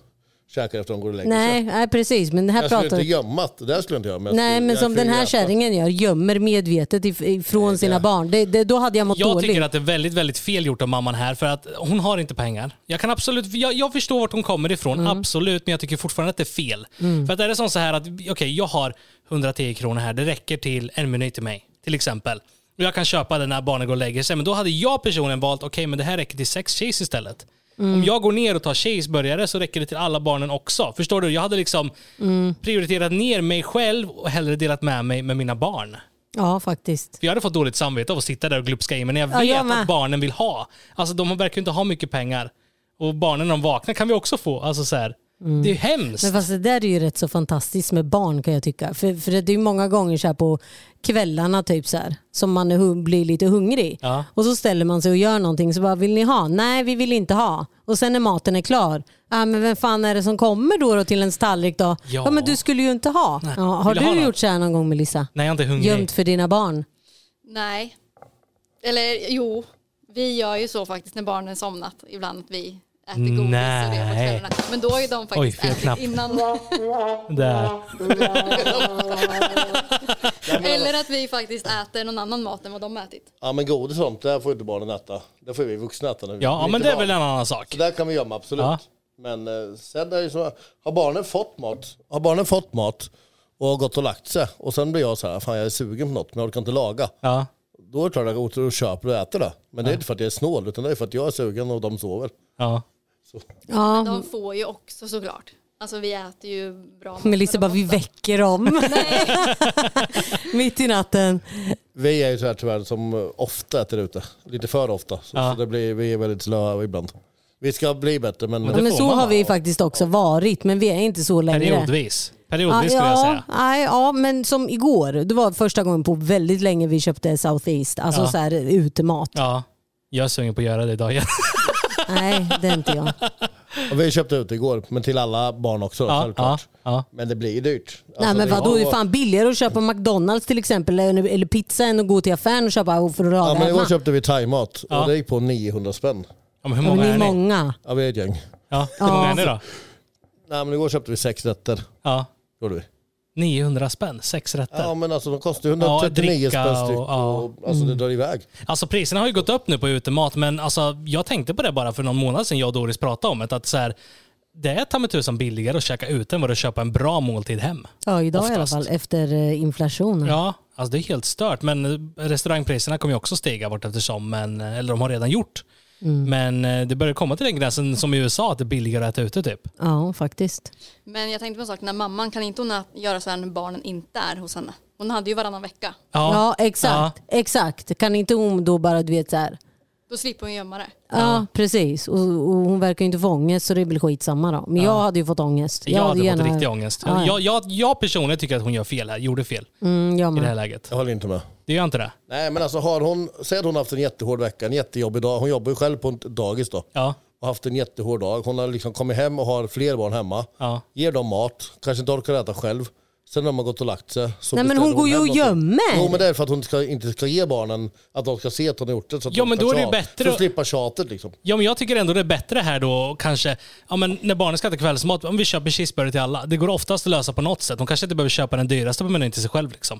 C: käkar efter de går och lägger sig.
B: Nej, nej precis. Men det här
C: Jag skulle
B: pratar
C: inte gömma det. Det här skulle jag inte göra. Men jag
B: Nej,
C: skulle,
B: men
C: jag
B: som
C: skulle
B: den här
C: äta.
B: kärringen gör, gömmer medvetet if- ifrån sina barn. Det, det, då hade jag mått
A: Jag
B: dåligt.
A: tycker att det är väldigt, väldigt fel gjort av mamman här för att hon har inte pengar. Jag kan absolut, jag, jag förstår vart hon kommer ifrån, absolut, men jag tycker fortfarande att det är fel. För att är det som så här att, okej, jag har 110 kronor här, det räcker till en minut till mig, till exempel. Och jag kan köpa den när barnen går och lägger sig, men då hade jag personligen valt, okej, men det här räcker till sex cheese istället. Om jag går ner och tar cheeseburgare så räcker det till alla barnen också. Förstår du? Jag hade liksom prioriterat ner mig själv och hellre delat med mig med mina barn.
B: Ja, faktiskt.
A: För jag hade fått dåligt samvete av att sitta där och glupska i mig när jag
B: Ja, jag
A: vet
B: med.
A: att barnen vill ha. Alltså de verkar ju inte ha mycket pengar. Och barnen när de vaknar kan vi också få. Alltså så här. Det är ju hemskt.
B: Mm. Men fast det där är ju rätt så fantastiskt med barn kan jag tycka. För, för det är ju många gånger så här på kvällarna typ så här, som man är, hu- blir lite hungrig.
A: Ja.
B: Och så ställer man sig och gör någonting så bara, vill ni ha? Nej, vi vill inte ha. Och sen när maten är klar, ah, men vem fan är det som kommer då, då till ens tallrik då? Ja.
A: Ja.
B: men du skulle ju inte ha. Ja, har
A: Vill jag ha
B: du
A: något?
B: gjort så här någon gång Melissa?
A: Nej, jag är inte hungrig.
B: Gömt för dina barn?
D: Nej. Eller jo, vi gör ju så faktiskt när barnen somnat ibland att vi äter godis och
A: Nej.
D: det på kvällarna. Men då har ju de faktiskt
A: fel
D: ätit
A: knapp.
D: innan.
A: Där.
D: Eller att vi faktiskt äter någon annan mat än vad de ätit.
C: Ja, men godis och sånt, det här får ju inte barnen äta. Det får ju vi vuxna äta nu.
A: Ja, men det är väl en annan sak.
C: Så där kan vi gömma, absolut.
A: Ja.
C: Men eh, sen är det ju så, har barnen fått mat, har barnen fått mat och har gått och lagt sig och sen blir jag så här, fan jag är sugen på något men jag orkar inte laga.
A: Ja.
C: Då är det klart att jag går ut och köper och äter det. Men det är inte för att jag är snål utan det är för att jag är sugen och de sover.
A: Ja.
B: Ja,
A: Mm.
D: De får ju också såklart. Alltså vi äter ju bra mat.
B: Melissa
D: för
B: bara,
D: dem
B: vi
D: också.
B: väcker dem
D: Nej,
B: mitt i natten.
C: Vi är ju så här tyvärr som eh, ofta äter ute. Lite för ofta. Så,
A: Ja.
C: så det blir, vi är väldigt slöa ibland. Vi ska bli bättre men...
B: Ja, men
A: får
B: så
A: man
B: har vi
A: ha.
B: faktiskt också varit, men vi är inte så längre.
A: Periodvis. Periodvis skulle
B: ja,
A: jag säga.
B: Nej, ja, men som igår. Det var första gången på väldigt länge vi köpte Southeast, alltså
A: Ja.
B: så här utemat.
A: Ja. Jag är sugen på att göra det idag igen.
B: Nej, det är inte jag.
A: Alltså,
C: och vi köpte ute igår men till alla barn också då,
A: Ja, ja,
C: självklart.
A: ja.
C: Men det blir ju dyrt.
B: Nej,
C: Alltså,
B: men
C: det-
B: vadå, det är
C: Ja.
B: fan billigare att köpa McDonalds till exempel, eller, eller pizza än att gå till affären och köpa för att laga
C: Ja, men igår
B: hemma.
C: köpte vi thaimat
A: Ja.
C: och det gick på 900 spänn.
A: Ja, men hur
B: Ja, men
A: många
B: ni
A: är
B: är
A: ni?
B: många.
C: Ja, vi är ett gäng.
A: Ja. Hur många är ni då?
C: Nej, men igår köpte vi sex rätter.
A: Ja.
C: Gjorde vi.
A: 900 spänn, sex rätter.
C: Ja, men alltså de kostar ju 139
A: Ja, dricka
C: spänn styck.
A: och- ja.
C: Och, alltså det drar iväg.
A: Alltså priserna har ju gått upp nu på utemat, men alltså, jag tänkte på det bara för någon månad sedan jag och Doris pratade om det. Att så här, det är ta mig tusan billigare att käka ute än vad det är att köpa en bra måltid hem.
B: Ja, idag i alla
A: Oftast.
B: fall, efter eh, inflationen.
A: Ja, alltså det är helt stört. Men eh, restaurangpriserna kommer ju också stiga vart eftersom, men, eh, eller de har redan gjort.
B: Mm.
A: Men eh, det börjar komma till den gränsen som i USA, att det är billigare att äta ute typ.
B: ja faktiskt.
D: men jag tänkte på en sak. När mamman, kan inte hon ä- göra så här när barnen inte är hos henne? Hon hade ju varannan vecka.
B: Ja, exakt. Exakt. Kan inte hon då bara, du vet så här,
D: Då slipper hon gömma det.
B: Ja, precis. Och, och hon verkar ju inte få ångest så det blir skitsamma då. Men jag hade ju fått ångest.
A: Jag hade
B: gärna-
A: fått riktig ångest.
B: Ja, ja.
A: Jag, jag, jag personligen tycker att hon gör fel här, gjorde fel
B: Mm, jag
A: i det
B: med.
A: här läget.
C: Jag håller inte med.
A: Det gör inte det?
C: Nej men alltså har hon, säg att hon har haft en jättehård vecka, en jättejobbig dag. Hon jobbar ju själv på ett dagis då.
A: Ja.
C: Och haft en jättehård dag. Hon har liksom kommit hem och har fler barn hemma.
A: Ja.
C: Ger dem mat, kanske inte orkar äta själv. Sen när man gått och lagt sig. Så
B: Nej, men
C: beställer
B: hon går ju
C: hem
B: och
C: någonting.
B: gömmer.
C: Jo men det är för att hon ska, inte ska ge barnen att de ska se att hon har gjort det. Så att
A: Ja,
C: de
A: men
C: kan
A: då är det ju
C: tja-
A: bättre
C: För
A: att-
C: att slippa tjatet liksom.
A: Ja, men jag tycker ändå det är bättre här då kanske, ja men när barnen ska äta kvällsmat, om vi köper cheeseburgare till alla. Det går oftast att lösa på något sätt. De kanske inte behöver köpa den dyraste på menyn till sig själv liksom.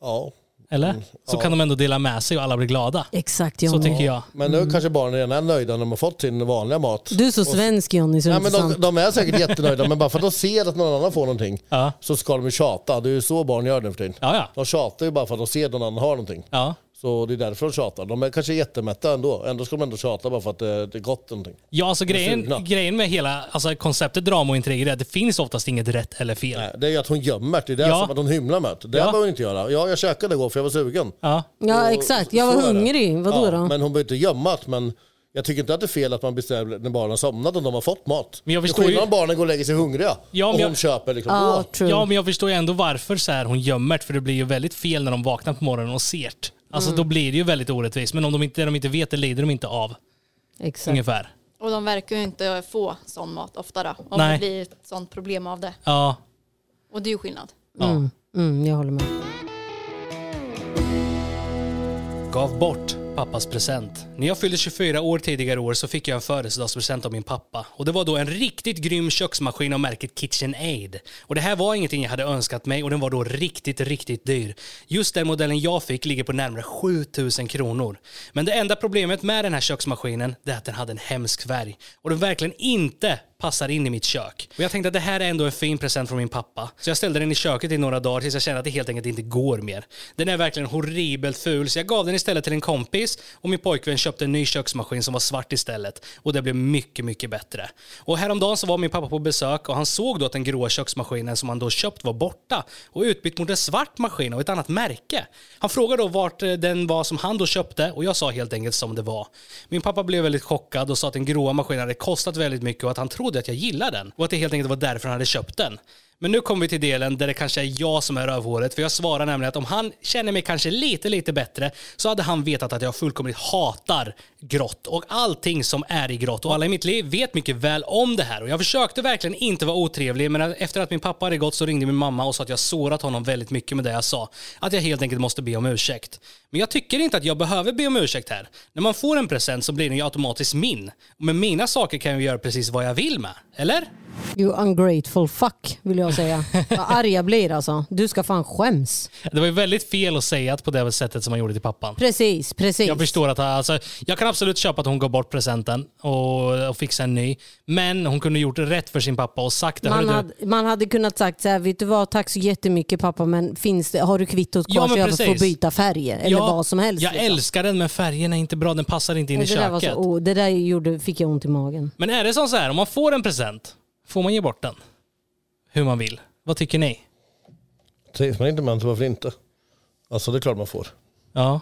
C: Ja.
A: Eller?
C: Mm,
A: Så kan de ändå dela med sig och alla blir glada.
B: Exakt, jag
A: Så
B: med.
A: tycker jag.
C: Men nu kanske barnen redan är nöjda när de har fått sin vanliga mat.
B: Du är så svensk Johnny så det är
C: Nej,
B: inte
C: men
B: sant.
C: de, de är säkert jättenöjda men bara för att de ser att någon annan får någonting
A: Ja.
C: så ska de ju tjata. Det är ju så barn gör nu för tiden.
A: Ja, ja.
C: De tjatar ju bara för att de ser att någon annan har någonting.
A: ja.
C: Så det är därför de tjatar. De är kanske jättemätta ändå. Ändå ska de ändå tjata bara för att det, det är gott någonting.
A: Ja, alltså grejen,
C: sugna.
A: grejen med hela alltså, konceptet drama och intriger är att det finns oftast inget rätt eller fel.
C: Nej, Det är ju att hon gömmer det. Det är
A: Ja.
C: som att hon hymlar med det. Det
A: Ja.
C: ja. behöver hon inte göra. Ja, jag käkade igår för jag var sugen.
A: Ja.
B: Ja
C: Och
B: exakt,
C: så-
B: jag var
C: så är det.
B: hungrig. Vadå
C: ja,
B: då?
C: Men hon behöver inte gömma det. Men jag tycker inte att det är fel att man beställer när barnen har somnat om de har fått mat.
A: Men jag
C: Det är
A: förstår ju-
C: skillnad om barnen går och lägger sig hungriga
A: Ja, men
C: och hon
A: jag-
C: köper liksom.
B: Ja,
C: då.
B: true.
A: Ja, men jag förstår ju ändå varför så här hon gömmer det, för det blir ju väldigt fel när de vaknar på morgonen och ser det. Alltså då blir det ju väldigt orättvist, men om de inte, de inte vet det lider de inte av,
B: exakt.
A: ungefär.
D: Och de verkar ju inte få sån mat ofta då. Om
A: Nej.
D: det blir ett sånt problem av det.
A: Ja,
D: Och det är ju skillnad.
A: ja.
B: Mm, jag håller med.
A: Gav bort pappas present. När jag fyllde 24 år tidigare år så fick jag en födelsedagspresent av min pappa. Och det var då en riktigt grym köksmaskin av märket KitchenAid. Och det här var ingenting jag hade önskat mig och den var då riktigt, riktigt dyr. Just den modellen jag fick ligger på närmare 7000 kronor. Men det enda problemet med den här köksmaskinen det är att den hade en hemsk färg. Och den verkligen inte passar in i mitt kök. Och jag tänkte att det här är ändå en fin present från min pappa. Så jag ställde den i köket i några dagar tills jag kände att det helt enkelt inte går mer. Den är verkligen horribelt ful så jag gav den istället till en kompis och min pojkvän köpte en ny köksmaskin som var svart istället. Och det blev mycket, mycket bättre. Och häromdagen så var min pappa på besök och han såg då att den gråa köksmaskinen som han då köpt var borta och utbytt mot en svart maskin av ett annat märke. Han frågade då vart eh, den var som han då köpte och jag sa helt enkelt som det var. Min pappa blev väldigt chockad och sa att den gråa maskinen hade kostat väldigt mycket och att han trodde att jag gillade den och att det helt enkelt var därför han hade köpt den. Men nu kommer vi till delen där det kanske är jag som är rövhåret för jag svarar nämligen att om han känner mig kanske lite, lite bättre så hade han vetat att jag fullkomligt hatar grått och allting som är i grått och alla i mitt liv vet mycket väl om det här och jag försökte verkligen inte vara otrevlig men efter att min pappa hade gått så ringde min mamma och sa att jag sårat honom väldigt mycket med det jag sa. Att jag helt enkelt måste be om ursäkt. Men jag tycker inte att jag behöver be om ursäkt här. När man får en present så blir den ju automatiskt min. Och med mina saker kan jag göra precis vad jag vill med. Eller?
B: You ungrateful fuck vill jag säga. Vad arg jag blir alltså. Du ska fan skäms.
A: Det var ju väldigt fel att säga på det sättet som man gjorde till pappan.
B: Precis, precis.
A: Jag förstår att han, alltså, jag kan absolut köpa att hon gav bort presenten och, och fixade en ny. Men hon kunde gjort rätt för sin pappa och sagt det.
B: Man
A: "Hörru du,
B: hade, man hade kunnat sagt så här, vet du vad, tack så jättemycket pappa men finns det, har du kvittot
A: Ja,
B: kvar
A: men
B: så jag får
A: precis.
B: byta färger? Eller
A: ja,
B: vad som helst.
A: Jag
B: liksom.
A: älskar den men färgen är inte bra, den passar inte in i
B: det där, var
A: köket.
B: så, oh, det där gjorde, fick jag ont i magen.
A: Men är det som så här, om man får en present, får man ge bort den? Hur man vill. Vad tycker ni?
C: Trivs man inte med den så varför inte? Alltså det är klart man får.
A: Ja.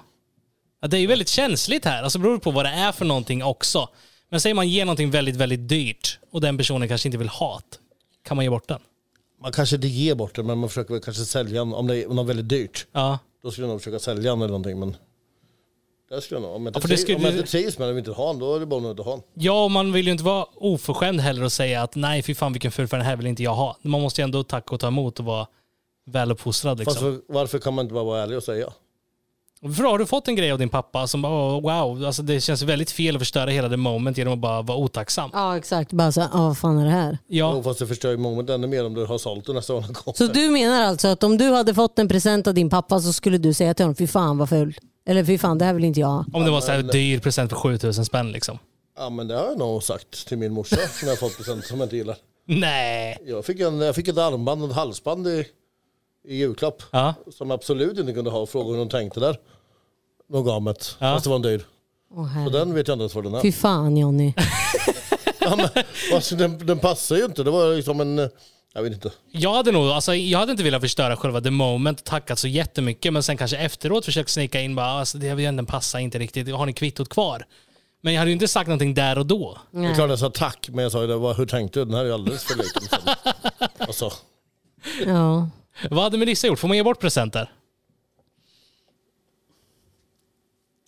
A: ja det är ju väldigt känsligt här. Alltså det beror på vad det är för någonting också. Men säger man ger någonting väldigt, väldigt dyrt och den personen kanske inte vill ha det, kan man ge bort den?
C: Man kanske inte ger bort den men man försöker väl kanske sälja den om det är om det är väldigt dyrt.
A: Ja.
C: Då skulle jag nog försöka sälja den eller någonting men det skulle jag nog. Om jag inte,
A: Ja, för det
C: trivs,
A: skulle-
C: om jag inte trivs med den och inte ha den då är det bara att inte ha den.
A: Ja, och man vill ju inte vara oförskämd heller och säga att nej, fy fan vilken ful, för den här vill inte jag ha. Man måste ju ändå tacka och ta emot och vara väluppfostrad.
C: Fast
A: Liksom.
C: för, varför kan man inte bara vara ärlig och säga?
A: För har du fått en grej av din pappa som bara, "Åh, wow, alltså det känns väldigt fel att förstöra hela det moment genom att bara vara otacksam.
B: Ja exakt, bara så här, "Ah, vad fan är det här?
A: Ja,
C: Jo, fast det förstör ju momentet ännu mer om du har sålt den nästa gång den kommer.
B: Så du menar alltså att om du hade fått en present av din pappa så skulle du säga till honom, fy fan vad ful. Eller fy fan det här vill inte jag ha.
A: om det var så här dyr present för 7000 spänn liksom.
C: Ja men det har jag nog sagt till min morsa som jag har fått present som jag inte gillar.
A: Nej.
C: Jag fick, en, jag fick ett armband och ett halsband i, i julklapp.
A: Ja.
C: Som jag absolut inte kunde ha. Fråga hur de tänkte där. De gav mig ett. Fast det var en dyr.
B: Åh, herre.
C: Och den vet jag inte ens vad den
A: Typ.
C: är.
B: Fy fan Johnny.
C: Alltså, den, den passar ju inte. Det var liksom en, Jag vet inte.
A: Jag hade nog, alltså, jag hade inte velat förstöra själva the moment och tackat så jättemycket, men sen kanske efteråt försökt snicka in bara, alltså, det den passar inte riktigt, har ni kvittot kvar? Men jag hade ju inte sagt någonting där och då.
C: Det är klart jag sa tack, men jag sa ju det var, hur tänkte du? Den här är ju alldeles för liten. alltså,
B: Ja.
A: Vad hade Melissa gjort? Får man ge bort presenter?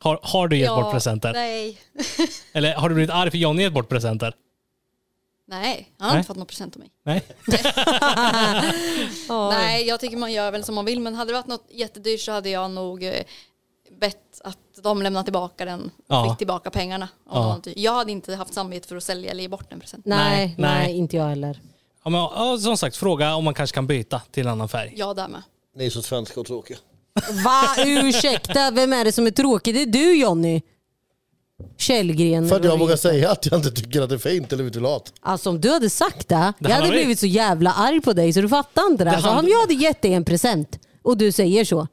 A: Har, har du gett bort presenter?
D: Nej.
A: Eller har du blivit arg för Johnny gett bort presenter?
D: Nej, han har
A: Nej.
D: inte fått någon present av mig.
A: Nej.
D: Nej, jag tycker man gör väl som man vill. Men hade det varit något jättedyrt så hade jag nog eh, bett att de lämnar tillbaka den.
A: Ja.
D: och Fick tillbaka pengarna. om det var något dyrt. Jag hade inte haft samvete för att sälja eller ge bort en present.
A: Nej,
B: Nej, nej,
A: nej.
B: inte jag heller.
A: Ja, men, ja, som sagt, fråga om man kanske kan byta till en annan färg.
D: Jag där med.
C: ni är så svenska och tråkiga.
B: Va? Ursäkta, vem är det som är tråkig? Det är du Jonny. Källgren.
C: För att jag vågar säga att jag inte tycker att det är fint eller utvilat.
B: Alltså om du hade sagt det, jag hade
A: handlar om-
B: blivit så jävla arg på dig så du fattar inte det. Alltså,
A: handlar-
B: Om jag hade gett dig en present och du säger så.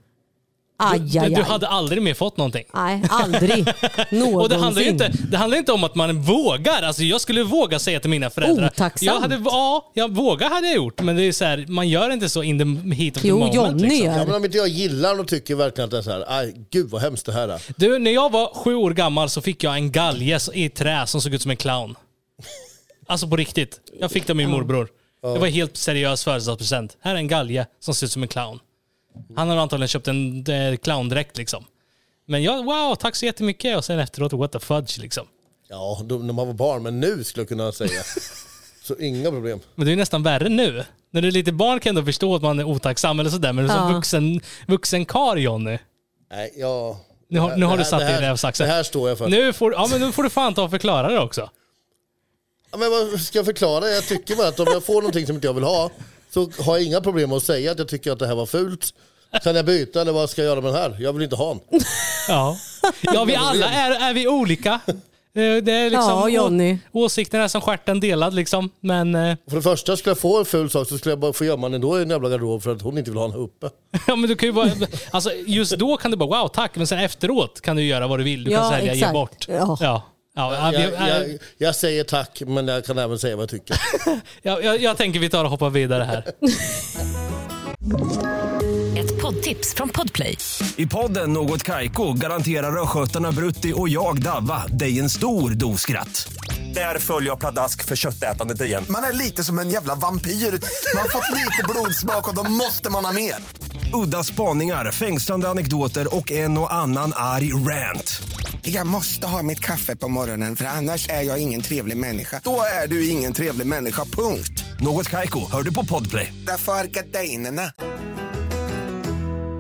B: Aj,
A: Du,
B: aj,
A: du
B: aj.
A: hade aldrig mer fått någonting.
B: Nej, aldrig. Någonsin.
A: Och det handlar, ju inte, det handlar inte om att man vågar. Alltså jag skulle våga säga till mina föräldrar.
B: Otacksamt.
A: Jag hade, ja, jag vågar hade jag gjort. Men det är så här, man gör inte så in the heat of the
B: Jo,
A: moment.
B: Johnny
A: liksom.
B: gör.
C: Ja, men om inte jag gillar och tycker verkligen att det är så här, aj, gud vad hemskt det här är.
A: Du, när jag var sju år gammal så fick jag en galge i trä som såg ut som en clown. Alltså på riktigt. Jag fick det av min morbror. Det var en helt seriös födelsedagspresent. Här är en galge som ser ut som en clown. Han har antagligen köpt en eh, clowndräkt liksom. Men jag, wow, tack så jättemycket. Och sen efteråt, what the fudge liksom.
C: Ja, då, när man var barn, men nu skulle jag kunna säga. så inga problem.
A: Men det är nästan värre nu. När du är lite barn kan jag ändå förstå att man är otacksam eller sådär. Men som
B: Ja.
A: vuxen, vuxen kar Jonny.
C: Nej, jag...
A: Nu har- nu har du satt
C: det
A: dig i
C: här-
A: rävsaxen.
C: Det här står jag för.
A: Nu får, ja, men nu får du fan ta och förklara det också.
C: Ja, Men vad ska jag förklara? Jag tycker bara att om jag får någonting som inte jag vill ha så har jag inga problem att säga att jag tycker att det här var fult. Kan jag byta eller vad ska jag göra med den här? Jag vill inte ha den.
A: Ja, ja vi alla är, är vi olika. Eh, Det är liksom
B: Ja, Johnny.
A: Å, åsikterna är som stjärten delad liksom. Men, eh,
C: För det första, skulle jag få en ful sak så skulle jag bara få gömma den då i en jävla garderob för att hon inte vill ha den här uppe.
A: ja, men du kan ju bara, alltså, just då kan du bara wow tack, men sen efteråt kan du göra vad du vill. Du kan
B: Ja,
A: sälja,
B: exakt.
A: ge bort.
B: Ja.
A: Ja. Ja, vi-
C: Jag, jag, jag säger tack, men jag kan även säga vad jag tycker.
A: jag, jag, jag tänker vi tar och hoppar vidare här.
E: Ett poddtips från Podplay.
F: I podden Något Kaiko garanterar östgötarna Brutti och jag, Davva, dig en stor dos skratt. Där följer jag pladask för köttätandet igen.
G: Man är lite som en jävla vampyr. Man har fått lite blodsmak och då måste man ha mer.
F: Udda spaningar, fängslande anekdoter och en och annan arg rant.
G: Jag måste ha mitt kaffe på morgonen för annars är jag ingen trevlig människa. Då är du ingen trevlig människa, punkt.
F: Något Kaiko, hör du på Podplay.
G: Därför är gardinerna.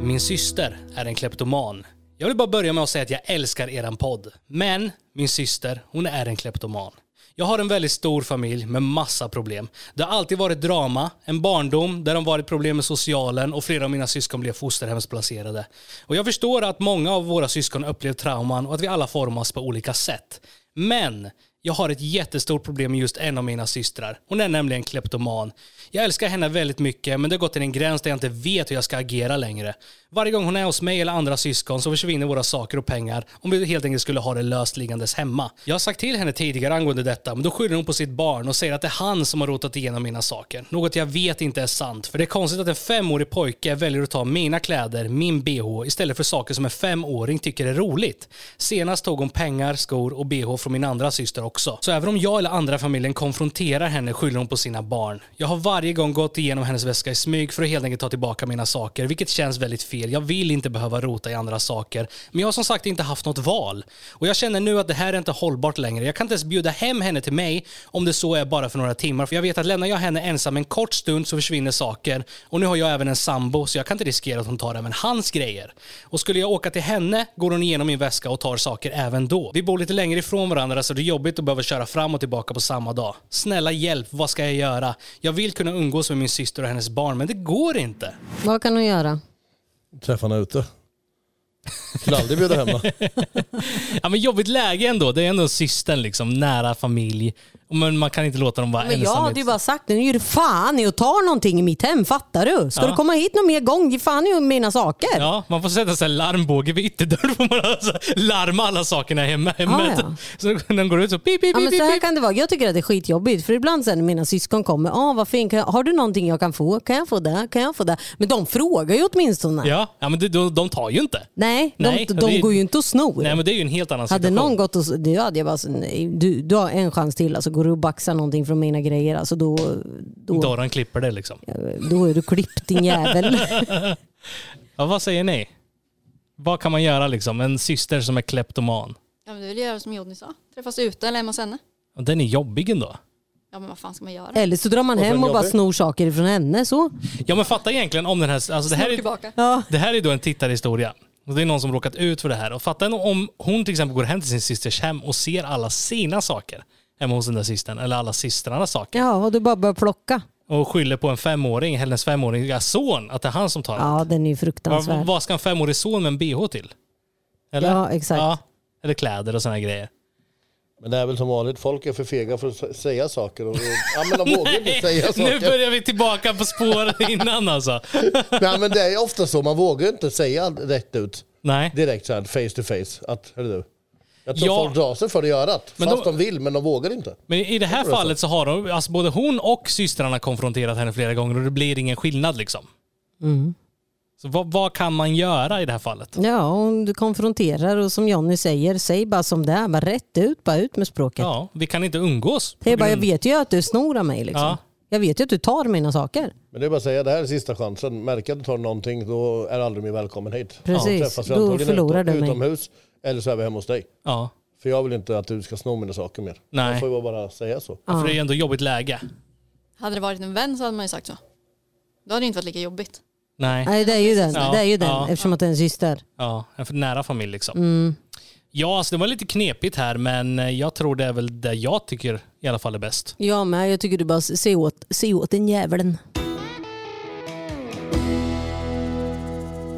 A: Min syster är en kleptoman. Jag vill bara börja med att säga att jag älskar eran podd. Men min syster, hon är en kleptoman. Jag har en väldigt stor familj med massa problem. Det har alltid varit drama, en barndom där de varit problem med socialen och flera av mina syskon blev fosterhemsplacerade. Och jag förstår att många av våra syskon upplevt trauman och att vi alla formas på olika sätt. Men jag har ett jättestort problem med just en av mina systrar. Hon är nämligen kleptoman. Jag älskar henne väldigt mycket men det har gått till en gräns där jag inte vet hur jag ska agera längre. Varje gång hon är hos mig eller andra syskon så försvinner våra saker och pengar om vi helt enkelt skulle ha det löst liggandes hemma. Jag har sagt till henne tidigare angående detta men då skyller hon på sitt barn och säger att det är han som har rotat igenom mina saker. Något jag vet inte är sant för det är konstigt att en femårig pojke väljer att ta mina kläder, min bh istället för saker som en femåring tycker är roligt. Senast tog hon pengar, skor och bh från min andra syster också. Så även om jag eller andra i familjen konfronterar henne skyller hon på sina barn. Jag har varje gång gått igenom hennes väska i smyg för att helt enkelt ta tillbaka mina saker, vilket känns väldigt fel. Jag vill inte behöva rota i andra saker, men jag har som sagt inte haft något val. Och jag känner nu att det här är inte hållbart längre. Jag kan inte ens bjuda hem henne till mig om det så är bara för några timmar, för jag vet att lämnar jag henne ensam en kort stund så försvinner saker. Och nu har jag även en sambo, så jag kan inte riskera att hon tar även hans grejer. Och skulle jag åka till henne går hon igenom min väska och tar saker även då. Vi bor lite längre ifrån varandra så det är jobbigt att behöva köra fram och tillbaka på samma dag. Snälla hjälp, vad ska jag göra? Jag vill kunna umgås med min syster och hennes barn, men det går inte.
B: Vad kan hon göra?
C: Träffa henne ute. Skulle aldrig bjuda hem henne.
A: Ja men jobbigt läge ändå. Det är ändå systern liksom, nära familj. Men man kan inte låta dem vara
B: Men jag
A: ensamma.
B: hade ju bara sagt det. Nu gör du fan i att ta någonting i mitt hem. Fattar du? Ska du komma hit någon mer gång? Ge fan i mina saker.
A: Ja, man får sätta så här larmbåge vid ytterdörren. Får man alltså larma alla sakerna hemma, hemmet.
B: Ah, ja.
A: Så när de går ut så pip, pip,
B: Ja,
A: pip,
B: men så här
A: pip.
B: kan det vara. Jag tycker att det är skitjobbigt för ibland sen när mina syskon kommer, ah, vad fin, kan jag, har du någonting jag kan få? Kan jag få det? Kan jag få det? Men de frågar ju åtminstone.
A: Ja, ja men det, de, de tar ju inte.
B: Nej, de,
A: Nej,
B: de
A: det-
B: går ju inte och snor.
A: Nej, men det är ju en helt annan
B: hade
A: situation.
B: någon gått och det hade jag bara, så, nej, du, du har en chans till, alltså, går du och baxar någonting från mina grejer, alltså, då, då,
A: Dörren klipper det liksom.
B: då är du klippt din jävel.
A: Ja, vad säger ni? Vad kan man göra liksom? En syster som är kleptoman.
D: Ja, men du vill göra som Johnny sa. Träffas ute eller hemma hos henne.
A: Ja, Den är jobbig ändå.
D: Ja, men vad fan ska man göra?
B: Eller så drar man hem och bara
C: jobbig?
B: snor saker från henne. Så.
A: Ja men fatta egentligen om den här... Alltså det, här
D: Snor
A: är,
D: tillbaka.
A: det här är då en tittarhistoria. Och det är någon som råkat ut för det här. Och fatta en- om hon till exempel går hem till sin systers hem och ser alla sina saker hemma hos den där systern. Eller alla systrarnas saker.
B: Ja, och du bara börjar plocka.
A: Och skyller på en femåring, hennes femåriga son, att det är han som tar allt.
B: Ja, den är ju
A: Vad-
B: fruktansvärd.
A: Vad ska en femårig son med en bh till? Eller?
B: Ja, exakt.
A: Eller kläder och såna här grejer.
C: Men det är väl som vanligt, folk är för fega för att s- säga saker. Och, och, ja, men de vågar inte säga
A: Nu
C: saker.
A: börjar vi tillbaka på spåren innan alltså.
C: Nej, men det är ofta så, man vågar inte säga rätt ut.
A: Nej.
C: Direkt så här, face to face. Att, hörru du. Jag tror
A: Ja.
C: folk drar sig för det i örat.
A: Men
C: fast
A: de-
C: de vill, men de vågar inte.
A: Men i det här fallet så har de, alltså både hon och systrarna konfronterat henne flera gånger och det blir ingen skillnad liksom.
B: Mm.
A: Så vad, vad kan man göra i det här fallet?
B: Ja, om du konfronterar och som Jonny säger, säg bara som det är. Bara rätt ut, bara ut med språket.
A: Ja, vi kan inte umgås.
B: Säg bara, jag vet ju att du snor av mig. Liksom.
A: Ja.
B: Jag vet ju att du tar mina saker.
C: Men det är bara att säga, det här är sista chansen. Märker att du tar någonting, då är du aldrig mer välkommen hit.
B: Precis.
C: Då träffas vi
B: Då
C: antagligen
B: förlorar du mig.
C: Utomhus, eller så är vi hemma hos dig.
A: Ja.
C: För jag vill inte att du ska sno mina saker mer.
A: Nej.
C: Man får ju bara säga så.
A: För det är ju ändå jobbigt läge.
D: Hade det varit en vän så hade man ju sagt så. Då hade det inte varit lika jobbigt.
A: Nej.
B: Nej, det är ju den,
A: Ja,
B: det är ju den
A: ja.
B: eftersom att det är en syster.
A: Ja, en för nära familj liksom. Ja, alltså det var lite knepigt här men eh, jag tror det är väl det jag tycker i alla fall är bäst.
B: Ja, men jag tycker du bara se åt, se åt den jäveln.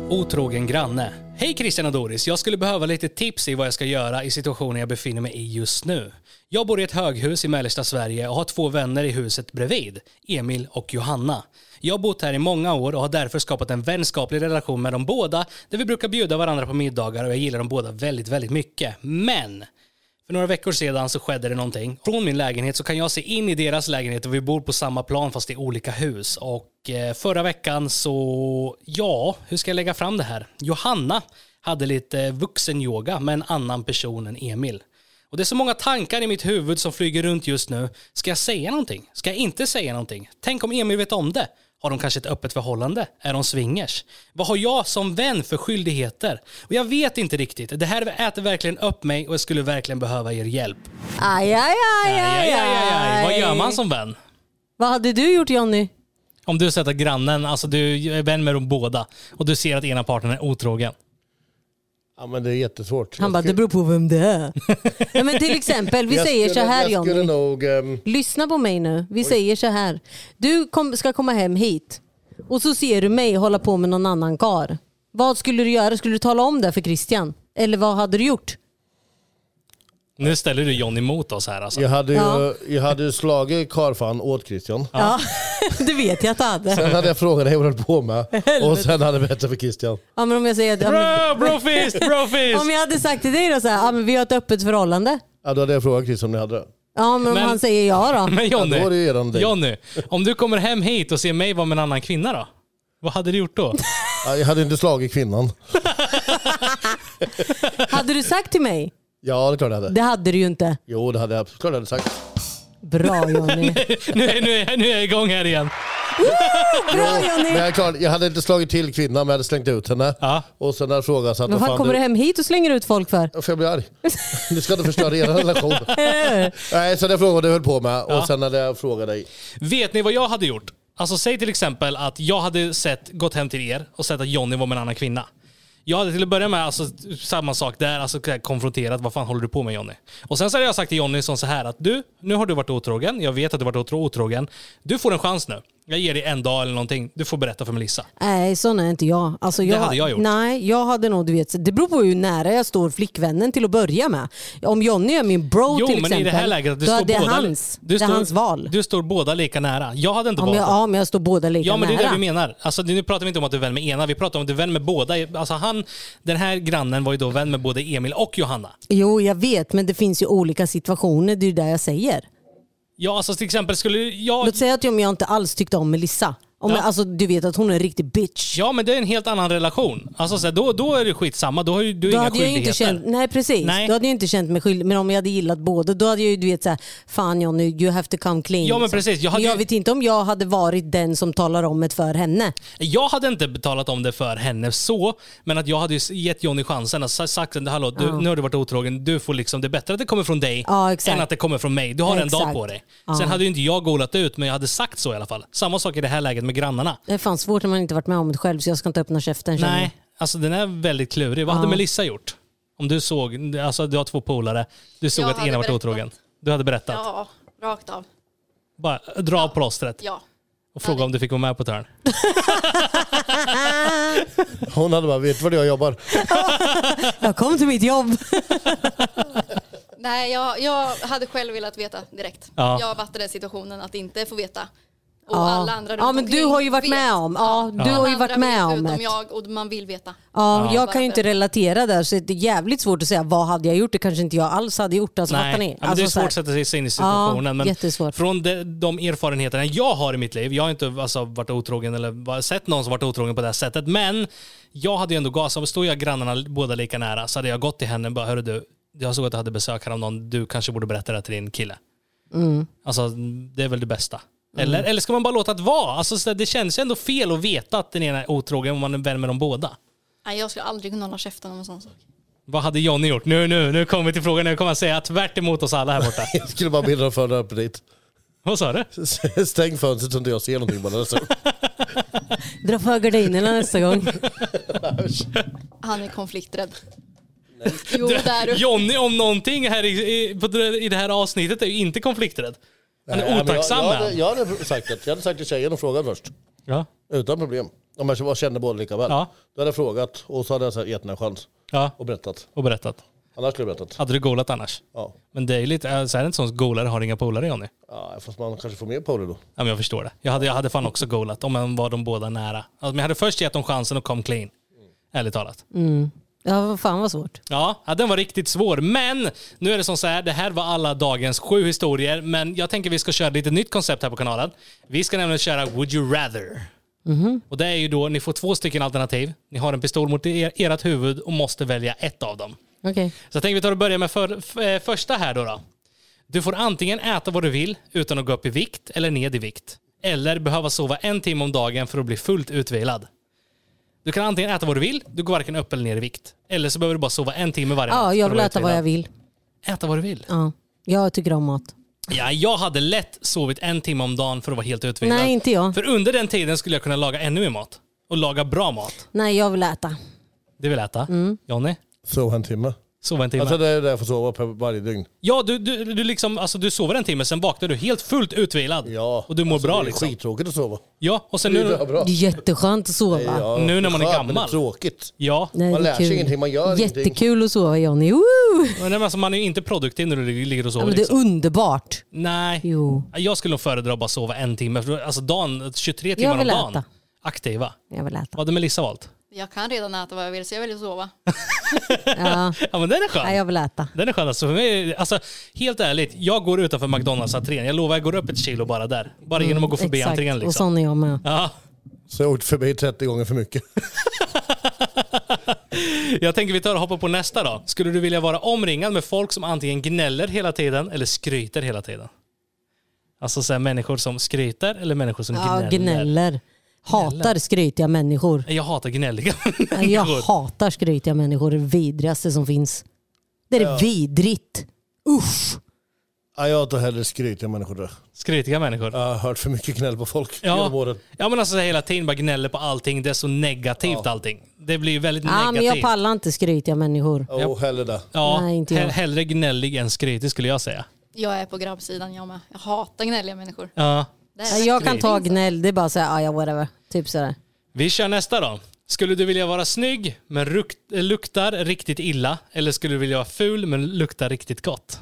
A: Otrogen granne. Hej Christian och Doris. Jag skulle behöva lite tips i vad jag ska göra i situationen jag befinner mig i just nu. Jag bor i ett höghus i mellersta Sverige och har två vänner i huset bredvid, Emil och Johanna. Jag har bott här i många år och har därför skapat en vänskaplig relation med dem båda där vi brukar bjuda varandra på middagar och jag gillar dem båda väldigt, väldigt mycket. Men för några veckor sedan så skedde det någonting. Från min lägenhet så kan jag se in i deras lägenhet och vi bor på samma plan fast i olika hus. Och eh, förra veckan så, ja, hur ska jag lägga fram det här? Johanna hade lite vuxenyoga med en annan person än Emil. Och det är så många tankar i mitt huvud som flyger runt just nu. Ska jag säga någonting? Ska jag inte säga någonting? Tänk om Emil vet om det? Har de kanske ett öppet förhållande? Är de swingers? Vad har jag som vän för skyldigheter? Och jag vet inte riktigt. Det här äter verkligen upp mig och jag skulle verkligen behöva er hjälp.
B: Aj, aj, aj, aj, aj,
A: Vad gör man som vän?
B: Vad hade du gjort Jonny?
A: Om du sätter grannen, alltså du är vän med dem båda och du ser att ena parten är otrogen.
C: Ja, men det är jättesvårt.
B: Han
C: Jag
B: bara, det
C: skulle-
B: beror på vem det är. ja, men till exempel, vi
C: jag
B: säger så
C: skulle-
B: här
C: Jag
B: Jonny.
C: skulle nog... ehm,
B: Lyssna på mig nu. Vi säger så här. Du kom, ska komma hem hit och så ser du mig hålla på med någon annan kar. Vad skulle du göra? Skulle du tala om det för Christian? Eller vad hade du gjort?
A: Nu ställer du Johnny mot oss här alltså.
C: jag, hade ju,
B: Ja.
C: jag hade ju slagit karfan åt Christian.
B: Ja, det vet jag att du hade.
C: Sen hade jag frågat dig vad du höll på med. Och sen hade jag berättat för Christian.
B: Ja, men om jag säger att, ja, men,
A: Bro, brofist, brofist!
B: om jag hade sagt till dig då så här, ja, men vi har ett öppet förhållande.
C: Ja, då hade jag frågat Christian om ni hade det.
B: Ja, men om
A: Men-
B: han säger ja då?
A: Men Jonny,
C: Ja, då var det ju redan dig.
A: Jonny, om du kommer hem hit och ser mig vara med en annan kvinna då? Vad hade du gjort då?
C: Ja, Jag hade inte slagit kvinnan.
B: Hade du sagt till mig?
C: Ja, det är klart jag hade.
B: Det hade du ju inte.
C: Jo, det hade jag absolut klart jag hade sagt.
B: Bra Jonny.
A: nu, är- nu, är- nu är jag igång här igen.
B: Bra
C: Men
B: Jonny.
C: jag, är klar, jag hade inte slagit till kvinnan, men jag hade slängt ut henne.
A: Ja.
C: Och sen hade jag frågat så att...
B: Men
C: "Vad
B: vad kommer
C: du
B: du hem hit och slänger ut folk för?
C: Ja, för jag blir arg. Du ska inte förstöra er relation. Nej, så det frågade vad du höll på med och sen hade jag frågat dig.
A: Vet ni vad jag hade gjort? Alltså säg till exempel att jag hade sett, gått hem till er och sett att Jonny var med en annan kvinna. Jag hade till att börja med alltså, samma sak där, alltså konfronterat. Vad fan håller du på med Jonny? Och sen så hade jag sagt till Jonny som så här att du, nu har du varit otrogen. Jag vet att du har varit otro- otrogen. Du får en chans nu. Jag ger dig en dag eller någonting. Du får berätta för Melissa.
B: Nej, sån är inte jag. Alltså, jag.
A: hade jag gjort.
B: Nej, jag hade nog, du vet, det beror på hur nära jag står flickvännen till att börja med. Om Jonny är min bro
A: jo,
B: till
A: men
B: exempel,
A: i det här läget, att du
B: då
A: står
B: är det,
A: båda,
B: hans,
A: du
B: det är
A: står,
B: hans val.
A: Du står båda lika nära. Jag hade inte
B: Om
A: valt
B: jag,
A: det.
B: ja, men jag står båda lika
A: Ja, men det
B: nära.
A: är det vi menar. Alltså, nu pratar vi inte om att du är vän med ena, vi pratar om att du är vän med båda. Alltså, han, den här grannen var ju då vän med både Emil och Johanna.
B: Jo, jag vet, men det finns ju olika situationer. Det är ju det jag säger.
A: Ja, alltså till exempel skulle jag...
B: Låt säga att om jag inte alls tyckte om Melissa. Om
A: Ja.
B: jag, alltså, du vet att hon är en riktig bitch.
A: Ja, men det är en helt annan relation. Alltså, så här, då, då är det skitsamma. Då har ju du
B: Då
A: inga
B: hade jag ju
A: skyldigheter.
B: inte känt, nej precis,
A: Nej.
B: då hade jag inte känt mig skyldig. Men om jag hade gillat båda, då hade jag ju du vet såhär, fan Johnny, you have to come clean.
A: Ja, men
B: liksom.
A: precis. Jag
B: Jag,
A: hade
B: men jag
A: ju-
B: vet inte om jag hade varit den som talar om det för henne.
A: Jag hade inte betalat om det för henne så, men att jag hade ju gett Johnny chansen. Att sa- sagt att hallå, du, nu har du varit otrogen, du får liksom, det är bättre att det kommer från dig
B: Ja, exakt.
A: än att det kommer från mig. Du har en dag
B: Exakt.
A: på dig.
B: Ja.
A: Sen hade ju inte jag golat ut, men jag hade sagt så i alla fall. Samma sak i det här läget med grannarna.
B: Det är fan svårt när man inte varit med om det själv så jag ska inte öppna käften känner jag.
A: Nej, alltså den är väldigt klurig. Vad hade Melissa gjort? Om du såg, alltså du har två polare, du såg
D: Jag
A: att
D: hade
A: ena varit
D: berättat.
A: otrogen. Du hade berättat.
D: Ja, rakt av.
A: Bara dra av plåstret
D: Ja.
A: och fråga om du fick vara med på ett hörn.
C: Hon hade bara, vet du vad jag jobbar?
B: Jag kom till mitt jobb.
D: Nej, jag, jag hade själv velat veta direkt.
A: Ja.
D: Jag har varit i den situationen att inte få veta. Och
B: Ja.
D: alla andra
B: Ja,
D: runt
B: men du
D: omkring
B: har ju varit
D: vet.
B: med om- ja, du har ju
D: Andra
B: varit med
D: vet
B: om
D: utom
B: det.
D: jag och man vill veta.
B: Ja, jag kan ju
D: Varför?
B: inte relatera där så det är jävligt svårt att säga vad hade jag gjort? Det kanske inte jag alls hade gjort. Alltså, fattar ni?
A: Ja, men
B: alltså,
A: det är
B: så här.
A: svårt att sätta sig in i situationen.
B: Ja,
A: men
B: jättesvårt.
A: från de, de erfarenheterna jag har i mitt liv, jag har inte alltså, varit otrogen eller va- sett någon som varit otrogen på det här sättet, men jag hade ju ändå gasat. Står jag grannarna båda lika nära så hade jag gått till henne och bara, hörru du, jag såg att du hade besök här av någon, du kanske borde berätta det här till din kille.
B: Mm.
A: Alltså det är väl det bästa. Eller, eller ska man bara låta det vara? Alltså, så där, det känns ju ändå fel att veta att den ena är otrogen om man är vän med dem båda.
D: Nej, jag skulle aldrig kunna hålla käften om en sån sak.
A: Vad hade Johnny gjort? Nu, nu, nu kommer vi till frågan. Nu kommer han säga tvärt emot oss alla här borta.
C: Jag skulle bara bilda för upp dit.
A: Vad sa du?
C: Stäng fönstret så inte jag ser någonting bara. Så.
B: Dra för gardinerna nästa gång.
D: Han är konflikträdd. Jo, där uppe.
A: Jonny om någonting här i, i, på, i det här avsnittet är ju inte konflikträdd. Han
C: Nej,
A: är
C: men
A: otacksam
C: jag,
A: är
C: jag, hade,
A: han.
C: jag hade sagt det. Jag hade sagt till tjejen och frågat först.
A: Ja.
C: Utan problem. Om jag bara kände båda lika väl.
A: Ja.
C: Då hade jag frågat och så hade jag så här gett henne en chans.
A: ja,
C: Och berättat.
A: och berättat.
C: Annars skulle jag berättat.
A: Hade du golat annars?
C: Ja.
A: Men det är ju lite, äh, så är det inte sån golare har inga polare Jonny.
C: ja, fast man kanske får mer på det då.
A: Ja, men jag förstår det. Jag hade, jag hade fan också golat om man var de båda nära. Alltså, men jag hade först gett dem chansen och kom clean. Ärligt talat.
B: Ja, vad fan vad svårt.
A: Ja, ja, den var riktigt svår. Men nu är det som så här, det här var alla dagens sju historier. Men jag tänker vi ska köra lite nytt koncept här på kanalen. Vi ska nämligen köra Would You Rather. Och det är ju då, ni får två stycken alternativ. Ni har en pistol mot er, ert huvud och måste välja ett av dem.
B: Okej.
A: Så jag tänker vi tar och börjar med för, f- eh, första här då, då. Du får antingen äta vad du vill utan att gå upp i vikt eller ned i vikt. Eller behöva sova en timme om dagen för att bli fullt utvilad. Du kan antingen äta vad du vill, du går varken upp eller ner i vikt. Eller så behöver du bara sova en timme varje
B: Ja,
A: natt för
B: jag
A: att
B: vill
A: vara
B: äta vad jag
A: utvilad.
B: vill.
A: Äta vad du vill?
B: Ja. Jag tycker om mat.
A: Ja, jag hade lätt sovit en timme om dagen för att vara helt utvilad.
B: Nej, inte jag.
A: För under den tiden skulle jag kunna laga ännu mer mat. Och laga bra mat.
B: Nej, jag vill äta.
A: Det vill äta.
B: Mm.
A: Jonny,
C: Sova en timme.
A: sova en timme.
C: Alltså det är det jag får sova på varje dygn.
A: Ja, du, du, du, liksom, alltså, du sover en timme, sen vaknar du helt fullt utvilad.
C: Ja.
A: Och du mår
C: alltså,
A: bra
C: det är
A: liksom.
C: Skittråkigt att sova.
A: Ja, och sen
C: Det är
A: nu...
C: bra, bra.
B: Det är jätteskönt att sova.
C: Ja,
A: Nu när man är
C: skönt,
A: gammal.
C: men Det är tråkigt.
A: Ja,
B: Nej,
C: Man
B: det är
C: lär sig
B: kul.
C: ingenting, man gör ingenting.
B: Jättekul att sova Johnny. Woo!
A: men det är alltså, man är ju inte produktiv när du ligger ligger och
B: Ja,
A: sover.
B: men det är
A: liksom.
B: underbart.
A: Nej,
B: Jo.
A: jag skulle nog föredra att bara sova en timme. För, alltså dagen, 23 timmar om
B: vill
A: dagen.
B: äta.
A: Aktiva.
B: Jag vill
A: Vad
B: äta.
A: hade Melissa valt?
D: Jag kan redan äta vad jag vill så jag väljer att sova.
B: Ja.
A: Ja, men den är
B: Nej,
A: skön.
B: jag vill äta.
A: Den är skön. Alltså, för mig, alltså, helt ärligt, jag går utanför McDonalds entrén. Jag lovar, jag går upp ett kilo bara där. Bara genom att gå förbi
B: Mm, Exakt.
A: entrén.
B: Och
A: Liksom.
B: sån är jag med.
A: Ja.
C: Så jag har åkt förbi 30 gånger för mycket.
A: Jag tänker vi tar och hoppar på nästa då. Skulle du vilja vara omringad med folk som antingen gnäller hela tiden eller skryter hela tiden? Alltså så här, människor som skryter eller människor som
B: Ja,
A: gnäller.
B: gnäller. Hatar skrytiga människor.
A: Jag hatar gnälliga
B: Nej, Jag
A: människor.
B: hatar skrytiga människor. Det är det vidrigaste som finns. Det är det vidrigt. Usch!
C: Ja, jag tar hellre skrytiga människor. där.
A: Skrytiga människor.
C: Jag har hört för mycket knäll på folk genom
A: Ja.
C: åren.
A: ja men alltså så här, hela tiden bara gnäller på allting. Det är så negativt allting. Det blir ju väldigt
B: Ja, men
A: negativt.
B: jag pallar inte skrytiga människor.
C: Åh, hellre det.
A: Ja,
B: Nej, inte jag.
A: hell- hellre gnällig än skrytig skulle jag säga.
D: Jag är på grabbsidan jag med. Jag hatar gnälliga människor.
A: Ja.
D: Det är
B: Nej, Jag kan ta gnäll, det är bara såhär, ah, ja whatever. Typ sådär.
A: Vi kör nästa då. Skulle du vilja vara snygg men rukt, eh, luktar riktigt illa? Eller skulle du vilja vara ful men luktar riktigt gott?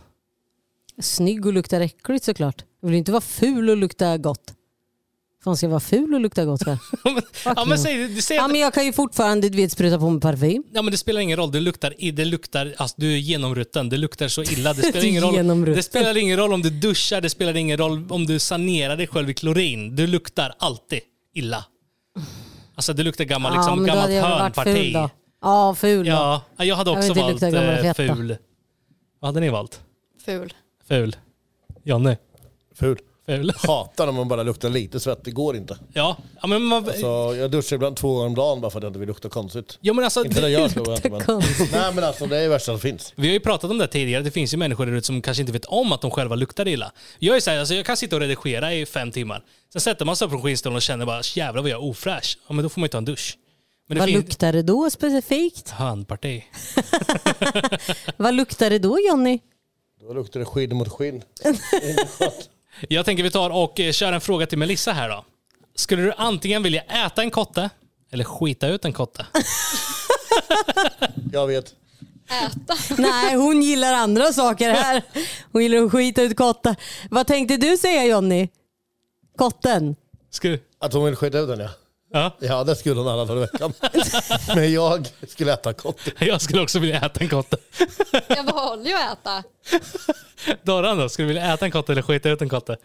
B: Snygg och luktar äckligt såklart. Jag vill inte vara ful och lukta gott. Fan ska jag vara ful och lukta gott för?
A: ja, men
B: no.
A: säg, du säger
B: ja men jag kan ju fortfarande du vet, spruta på mig parfym.
A: Ja men det spelar ingen roll, det luktar, i- det luktar alltså, du är genomrutten, det luktar så illa. Det spelar,
B: Du är
A: ingen roll,
B: genomrutten.
A: det spelar ingen roll om du duschar, det spelar ingen roll om du sanerar dig själv i klorin. Du luktar alltid illa. Alltså det luktar gammal,
B: ja,
A: liksom,
B: men då
A: gammalt
B: hade jag väl varit
A: hönparti.
B: ful då. Ja, ful då.
A: Ja, jag hade
B: Jag vill
A: också
B: inte
A: valt
B: lukta gammal
A: eh,
B: feta.
A: ful. Vad hade ni valt?
D: ful.
A: Ful. Jonny?
C: Ful.
A: Ful.
C: Hatar när man bara luktar lite svett, det går inte.
A: Ja, ja men, man,
C: Så jag duschar ibland två gånger om dagen bara för att jag inte vill lukta konstigt.
A: ja, men alltså,
C: Inte när jag tror
B: Luktar
C: jag, men...
B: konstigt.
C: Nej men alltså det är det värsta som finns.
A: Vi har ju pratat om det här tidigare, det finns ju människor där ute som kanske inte vet om att de själva luktar illa. Jag är så här, alltså jag kan sitta och redigera i fem timmar. Sen sätter man sig på skinnstolen och känner bara jävlar vad jag är ofräsch. Ja men då får man ju ta en dusch. Men det
B: Vad
A: finns
B: luktar det då specifikt?
A: handparti.
B: Vad luktar det då Jonny?
C: Då luktar det skinn mot skinn.
A: Jag tänker vi tar och eh, kör en fråga till Melissa här då. Skulle du antingen vilja äta en kotte eller skita ut en kotte?
C: Jag vet.
D: Äta.
B: Nej, hon gillar andra saker här. Hon gillar att skita ut kottar. Vad tänkte du säga Jonny? Kotten?
A: Skulle,
C: Att hon vill skita ut den ja.
A: ja,
C: Ja det skulle hon alla för veckan. men jag skulle äta kotte.
A: jag skulle också vilja äta en kotte.
D: Jag behåller ju att äta.
A: Dorran då, skulle du vilja äta en kotte eller skita ut en kotte?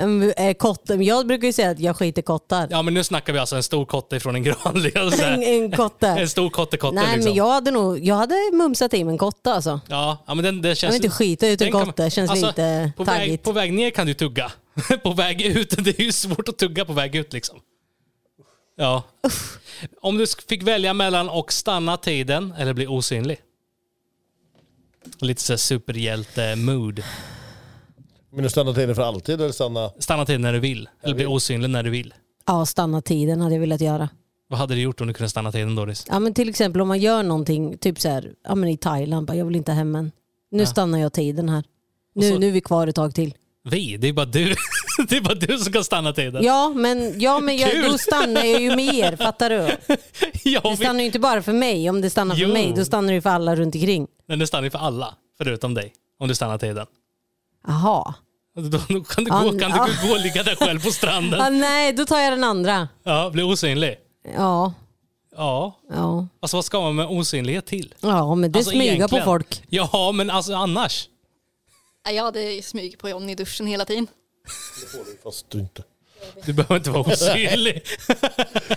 B: Mm, eh, Kotten. Jag brukar ju säga att jag skiter kottar.
A: Ja men nu snackar vi alltså en stor kotte från en gran. liksom så här.
B: En, en kotte.
A: En stor kottekotte
B: Nej
A: liksom.
B: men jag hade nog jag hade mumsat i mig en kotte alltså.
A: Ja, ja men den, den känns...
B: Jag vill inte skita ut en
A: Alltså, den kan- alltså,
B: kotte, känns lite
A: på väg,
B: taggigt.
A: på väg ner kan du tugga. på väg ut, det är ju svårt att tugga på väg ut liksom. Ja. Om du sk- fick välja mellan och stanna tiden eller bli osynlig? Lite så här superhjälte-mood.
C: Men du stannar tiden för alltid eller stanna?
A: Stanna tiden när du vill, eller bli osynlig när du vill.
B: Ja, stanna tiden hade jag velat göra.
A: Vad hade du gjort om du kunde stanna tiden Doris?
B: Ja, men till exempel om man gör någonting, typ så här, ja, men i Thailand, bara, jag vill inte hem än. Nu stannar jag tiden här. Nu,
A: så-
B: nu är vi kvar ett tag till.
A: Vi, det är bara du. det är bara du som kan stanna tiden.
B: Ja, men, ja, men jag,
A: Kul!
B: då stannar jag ju med er, fattar du?
A: jag
B: Det
A: vill,
B: stannar ju inte bara för mig. Om det stannar för
A: Jo.
B: mig, då stannar det ju för alla runt omkring.
A: men det stannar ju för alla, förutom dig. Om du stannar tiden.
B: Jaha.
A: Då, då kan du,
B: Ja,
A: gå, kan du
B: ja.
A: gå och ligga där själv på
B: Ah,
A: stranden.
B: nej, då tar jag den andra.
A: Ja, bli osynlig.
B: Ja,
A: Ja,
B: ja.
A: alltså vad ska man med osynlighet till?
B: ja men det
A: Alltså,
B: smyga
A: egentligen.
B: på folk.
A: Ja, men alltså annars.
D: Nej, Jag hade smyg på Johnny i duschen hela tiden.
C: Fast du inte.
A: Du behöver inte vara osynlig.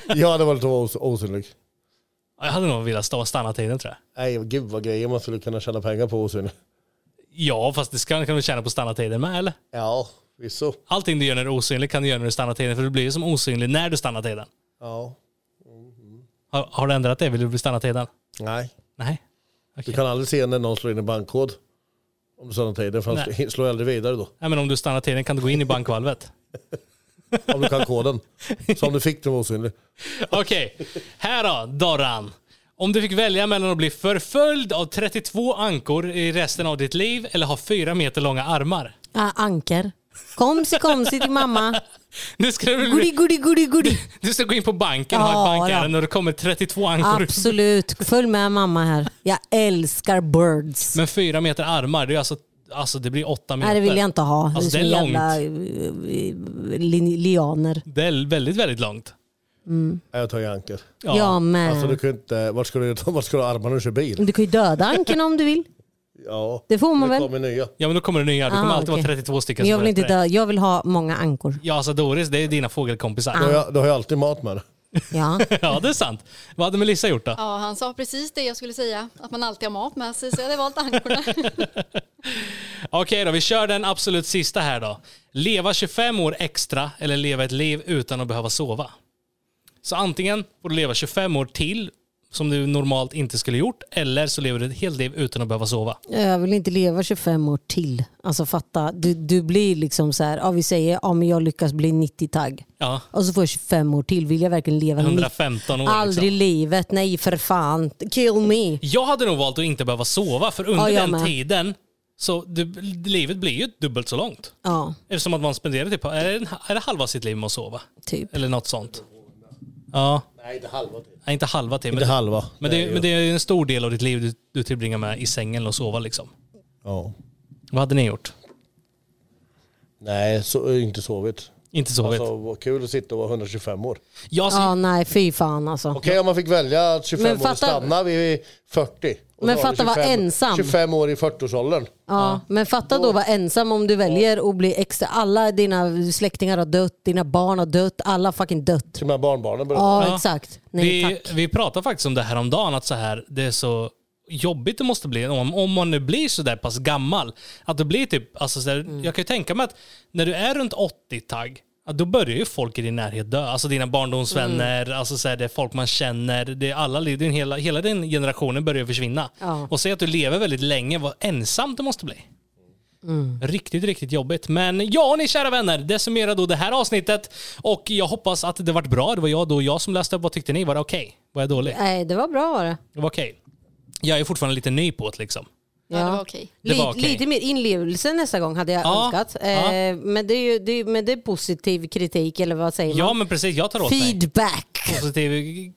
C: Jag hade varit os- osynlig.
A: Jag hade nog velat stå stanna tiden tror jag.
C: Nej gud vad grejer man skulle kunna tjäna pengar på osynlig.
A: Ja, fast det ska, kan du tjäna på stanna tiden med eller?
C: Ja visst
A: Allting du gör när du är osynlig kan du göra när du stannar tiden, för du blir ju som osynlig när du stannar tiden.
C: Ja.
A: Har, har du ändrat det? Vill du bli stanna tiden?
C: Nej.
A: Nej.
C: Du kan aldrig se när någon slår in en bankkod. Om du stannar tiden, för han
A: Nej.
C: slår aldrig vidare då.
A: Nej, men om du stannar tiden kan du gå in i bankvalvet.
C: Om du kan koden. Så om du fick den var osynlig.
A: Okej, här då, Dorran. Om du fick välja mellan att bli förföljd av 32 ankor i resten av ditt liv eller ha fyra meter långa armar.
B: Ah, anker. Komsi, komsi till mamma.
A: Nu ska du,
B: Goody, goody, goody, goody.
A: du ska gå in på banken och ha
B: Ja,
A: ett bankärende och det kommer 32 ankor.
B: Absolut. Följ med mamma här. Jag älskar birds.
A: Men fyra meter armar, det, är alltså, alltså, det blir åtta meter.
B: Nej, det vill jag inte ha.
A: Alltså, det
B: det är,
A: är
B: som
A: långt.
B: jävla eh, lin- lianer.
A: Det är väldigt, väldigt långt.
C: Nej, Jag tar ju anker.
B: Ja, men.
C: Alltså du
B: du...
C: kan ju inte, vart ska du, vart ska du ha armarna när du kör bil?
B: kan ju döda anken om du vill.
C: Ja.
B: Det får man
C: det
B: väl.
C: kommer nya.
A: Ja, men då kommer det nya. Det
B: Ah,
A: kommer alltid
B: okej.
A: vara 32 stycken.
B: Men jag
A: som
B: vill inte
A: är efter dig.
B: dö. Jag vill ha många ankor.
A: Ja, alltså Doris, det är dina fågelkompisar.
B: Ah.
C: Då har jag, då har jag alltid mat med det.
B: Ja.
A: Ja, det är sant. Vad hade Melissa gjort då?
D: Ja, han sa precis det jag skulle säga. Att man alltid har mat med sig. Så jag hade valt ankorna.
A: Okej då, vi kör den absolut sista här då. Leva 25 år extra eller leva ett liv utan att behöva sova. Så antingen får du leva 25 år till som du normalt inte skulle gjort eller så lever du ett helt liv utan att behöva sova.
B: Eh, Jag vill inte leva 25 år till. Alltså fatta, du, du blir liksom så här, ja, vi säger ja, men jag lyckas bli 90 tagg
A: Ja,
B: och så får jag 25 år till. Vill jag verkligen leva 90?
A: 115 år
B: Mm. Aldrig i
A: liksom.
B: livet, nej för fan. Kill me.
A: Jag hade nog valt att inte behöva sova för under
B: Ja, jag
A: den
B: med.
A: tiden Så du, livet blir ju dubbelt så långt.
B: Ja,
A: Eftersom att man spenderar typ, är det, en- är det halva sitt liv med att sova?
B: typ.
A: Eller något sånt. Ja,
C: Nej, det halva till.
A: nej, inte halva till.
C: Inte
A: Men,
C: halva.
A: men, det, men det är ju en stor del av ditt liv du, du tillbringar med i sängen och sova liksom.
C: Ja.
A: Vad hade ni gjort?
C: Nej, så, inte sovit.
A: Inte sovit? alltså,
C: Alltså, vad kul att sitta och vara 125 år.
A: jag, ser-
B: Ja, nej fy fan alltså.
C: Okej om man fick välja att 25
B: Men
C: år
B: fatta-
C: stanna vid 40. och
B: Men
C: så har
B: fatta
C: du
B: vara ensam.
C: 25 år i 40-årsåldern.
B: Ja, men fatta då vara ensam om du väljer att bli extra. Alla dina släktingar har dött, dina barn har dött, alla fucking dött.
C: Till och med barnbarnen börjar
B: Ja,
A: Ja.
B: exakt. Nej
A: vi,
B: tack.
A: vi pratade faktiskt om det här om dagen att så här, det är så jobbigt det måste bli om, om man nu blir så där pass gammal. Att det blir typ, alltså så där,
B: Mm.
A: jag kan ju tänka mig att när du är runt 80-tagg, ja, då börjar ju folk i din närhet dö. Alltså dina barndomsvänner,
B: Mm.
A: alltså så här, det är folk man känner, det är alla, din, hela, hela din generationen börjar ju försvinna.
B: Ja.
A: Och se att du lever väldigt länge, vad ensamt det måste bli. Riktigt, riktigt jobbigt. Men ja, ni kära vänner, det summerar då det här avsnittet. Och jag hoppas att det vart bra. Det var jag då jag som läste upp. Vad tyckte ni? Var det okej? Var jag dålig?
B: Nej, det var bra var det.
A: Det var okej. Jag är fortfarande lite ny på det liksom.
D: Ja, det var okej.
A: Det var
B: Lite-
A: okej.
B: Lite mer inlevelse nästa gång hade jag
A: Ja,
B: önskat. Eh,
A: ja.
B: Men, det är ju, det är, men det är positiv kritik eller vad säger
A: Ja,
B: man?
A: men precis. Jag tar åt mig.
B: Feedback.
A: Positiv,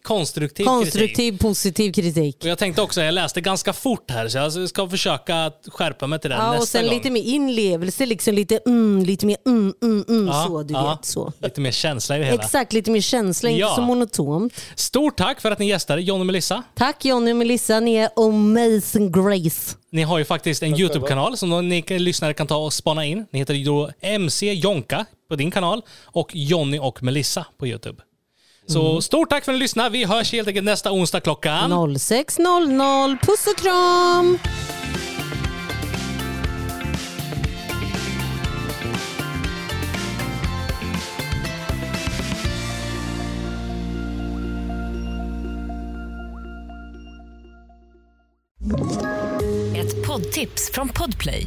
A: konstruktiv, kritik.
B: Konstruktiv positiv kritik.
A: Och jag tänkte också, jag läste ganska fort här så jag ska försöka att skärpa mig till den
B: Ja,
A: nästa
B: och sen
A: gång.
B: lite mer inlevelse, liksom lite mm, lite mer mm, mm, mm
A: Ja,
B: så du
A: ja.
B: vet. Så.
A: Lite mer känsla i det hela.
B: Exakt, lite mer känsla,
A: Ja.
B: inte så monotont.
A: Stort tack för att ni gästade, John och Melissa.
B: Tack Jonny och Melissa, ni är amazing grace.
A: Ni har ju faktiskt en YouTube-kanal som ni kan- lyssnare kan ta och spana in. Ni heter ju då MC Jonka på din kanal och Jonny och Melissa på YouTube. Så stort tack för att ni lyssnade. Vi hörs helt enkelt nästa onsdag klockan...
B: 06.00, puss och kram!
E: Ett poddtips från Podplay.